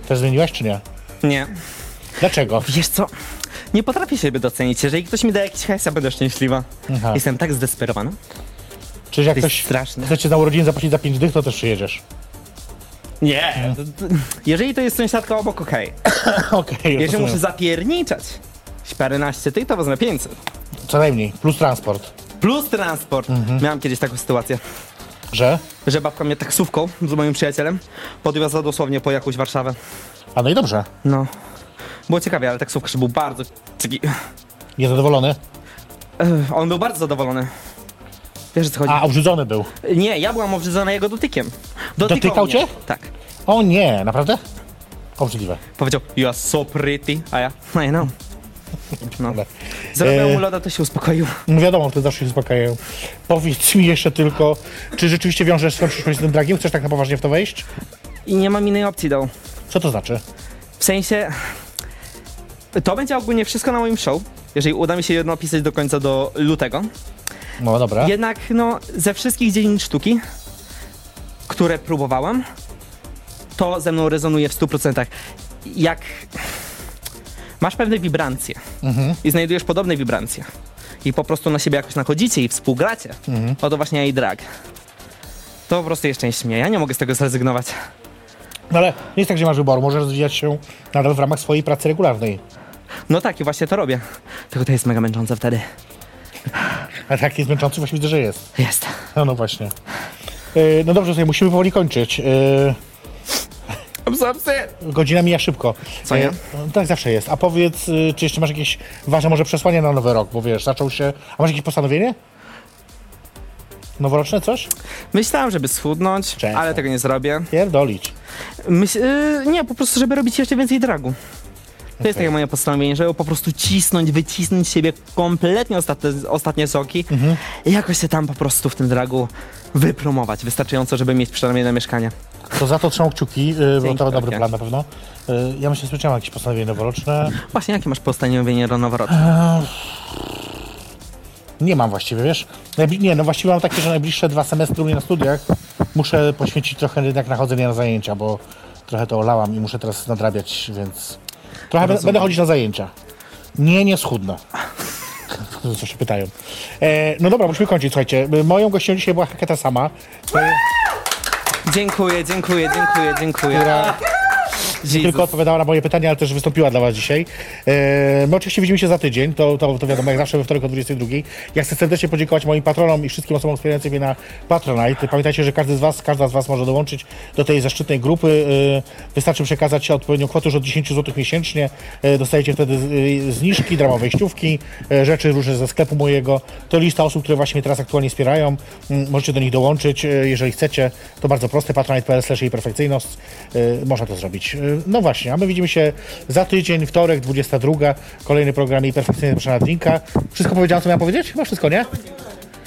Speaker 2: Też zmieniłaś czy nie?
Speaker 3: Nie.
Speaker 2: Dlaczego?
Speaker 3: Wiesz co? Nie potrafię siebie docenić. Jeżeli ktoś mi da jakiś hajs, ja będę szczęśliwa.
Speaker 2: Aha.
Speaker 3: Jestem tak zdesperowana.
Speaker 2: Czyli jak
Speaker 3: jest
Speaker 2: ktoś
Speaker 3: straszne.
Speaker 2: chce cię na urodziny zapłacić za 5 dych, to też przyjedziesz.
Speaker 3: Nie. To- to- Jeżeli to jest sąsiadka obok, okej.
Speaker 2: Okej,
Speaker 3: Jeżeli
Speaker 2: rozumiem.
Speaker 3: muszę zapierniczać paręnaście tych, to wezmę 500.
Speaker 2: Co najmniej, plus transport.
Speaker 3: Plus transport.
Speaker 2: Mhm.
Speaker 3: Miałam kiedyś taką sytuację,
Speaker 2: Że?
Speaker 3: że babka mnie taksówką z moim przyjacielem podwiozła dosłownie po jakąś Warszawę.
Speaker 2: A no i dobrze,
Speaker 3: No. Było ciekawie, ale taksówkarz był bardzo taki...
Speaker 2: niezadowolony.
Speaker 3: Ech, On był bardzo zadowolony. Wiesz o co chodzi?
Speaker 2: A, obrzydzony był.
Speaker 3: Nie, ja byłam obrzedzona jego dotykiem.
Speaker 2: Dotykał
Speaker 3: mnie.
Speaker 2: cię?
Speaker 3: Tak.
Speaker 2: O nie, naprawdę? Obrzydliwe.
Speaker 3: Powiedział, you are so pretty, a ja, no I know. No.
Speaker 2: Ale-
Speaker 3: Zrobiłem
Speaker 2: E,
Speaker 3: mu loda, to się uspokoił.
Speaker 2: No wiadomo, wtedy zawsze się uspokajają. Powiedz mi jeszcze tylko, czy rzeczywiście wiążesz swoją przyszłość z tym dragiem? Chcesz tak na poważnie w to wejść?
Speaker 3: I nie mam innej opcji, dał.
Speaker 2: Co to znaczy?
Speaker 3: W sensie. To będzie ogólnie wszystko na moim show. Jeżeli uda mi się je napisać do końca do lutego.
Speaker 2: No dobra.
Speaker 3: Jednak no, ze wszystkich dziedzin sztuki, które próbowałem, to ze mną rezonuje w 100%. Jak masz pewne wibrancje i znajdujesz podobne wibrancje i po prostu na siebie jakoś nachodzicie i współgracie, o to właśnie i drag. To po prostu jest część mnie. Ja nie mogę z tego zrezygnować.
Speaker 2: No ale nie jest tak, że masz wyboru. Możesz rozwijać się nadal w ramach swojej pracy regularnej.
Speaker 3: No tak, i właśnie to robię. Tylko to jest mega męczące wtedy.
Speaker 2: A tak jest męczący, właśnie widzę, że jest.
Speaker 3: Jest.
Speaker 2: No, no właśnie. Yy, no dobrze, słuchaj, musimy powoli kończyć. Yy,
Speaker 3: Absorpcję.
Speaker 2: godzina mija szybko.
Speaker 3: Co nie?
Speaker 2: Yy, no, tak zawsze jest. A powiedz, yy, czy jeszcze masz jakieś ważne może przesłanie na nowy rok? Bo wiesz, zaczął się... A masz jakieś postanowienie? Noworoczne coś?
Speaker 3: Myślałem, żeby schudnąć,
Speaker 2: Często.
Speaker 3: ale tego nie zrobię.
Speaker 2: Pierdolić.
Speaker 3: y, Myśl, yy, nie, po prostu, żeby robić jeszcze więcej dragu. To jest takie moje postanowienie, żeby po prostu cisnąć, wycisnąć z siebie kompletnie ostatnie, ostatnie soki
Speaker 2: Mhm.
Speaker 3: i jakoś się tam po prostu w tym dragu wypromować. Wystarczająco, żeby mieć przynajmniej na mieszkanie.
Speaker 2: To za to trzymam kciuki, y, bo
Speaker 3: Dzięki,
Speaker 2: to dobry
Speaker 3: Tomku.
Speaker 2: plan na pewno. Y, Ja myślę, że słyszałem jakieś postanowienie noworoczne.
Speaker 3: Właśnie, jakie masz postanowienie do noworoczne?
Speaker 2: Nie mam właściwie, wiesz? Najbli- nie, no właściwie mam takie, że najbliższe dwa semestry u mnie na studiach muszę poświęcić trochę jednak na chodzenie na zajęcia, bo trochę to olałam i muszę teraz nadrabiać, więc trochę be- będę chodzić na zajęcia. Nie, nie schudnę. Co się pytają. E, no dobra, musimy kończyć, słuchajcie. Y, Moją gością dzisiaj była Haketa Sama,
Speaker 3: Dziękuję, dziękuję, dziękuję, dziękuję.
Speaker 2: która
Speaker 3: Jesus.
Speaker 2: tylko odpowiadała na moje pytania, ale też wystąpiła dla Was dzisiaj. E, my oczywiście widzimy się za tydzień, to, to, to wiadomo, jak zawsze we wtorek o 22. Ja chcę serdecznie podziękować moim patronom i wszystkim osobom wspierającym mnie na Patronite. Pamiętajcie, że każdy z Was, każda z Was może dołączyć do tej zaszczytnej grupy. E, wystarczy przekazać odpowiednią kwotę już od 10 zł miesięcznie. E, dostajecie wtedy z- e, zniżki, darmowe wejściówki, e, rzeczy różne ze sklepu mojego. To lista osób, które właśnie mnie teraz aktualnie wspierają. Mm, Możecie do nich dołączyć, e, jeżeli chcecie. To bardzo proste, patronite.pl slash jej perfekcyjność. E, Można to zrobić. E, No właśnie, a my widzimy się za tydzień, wtorek, 22. Kolejny program jej perfekcyjny proszę na drinka. Wszystko powiedziałem, co miałem powiedzieć? Chyba wszystko, nie?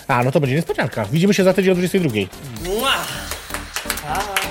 Speaker 2: A, no to będzie niespodzianka. Widzimy się za tydzień o 22.
Speaker 4: Mua!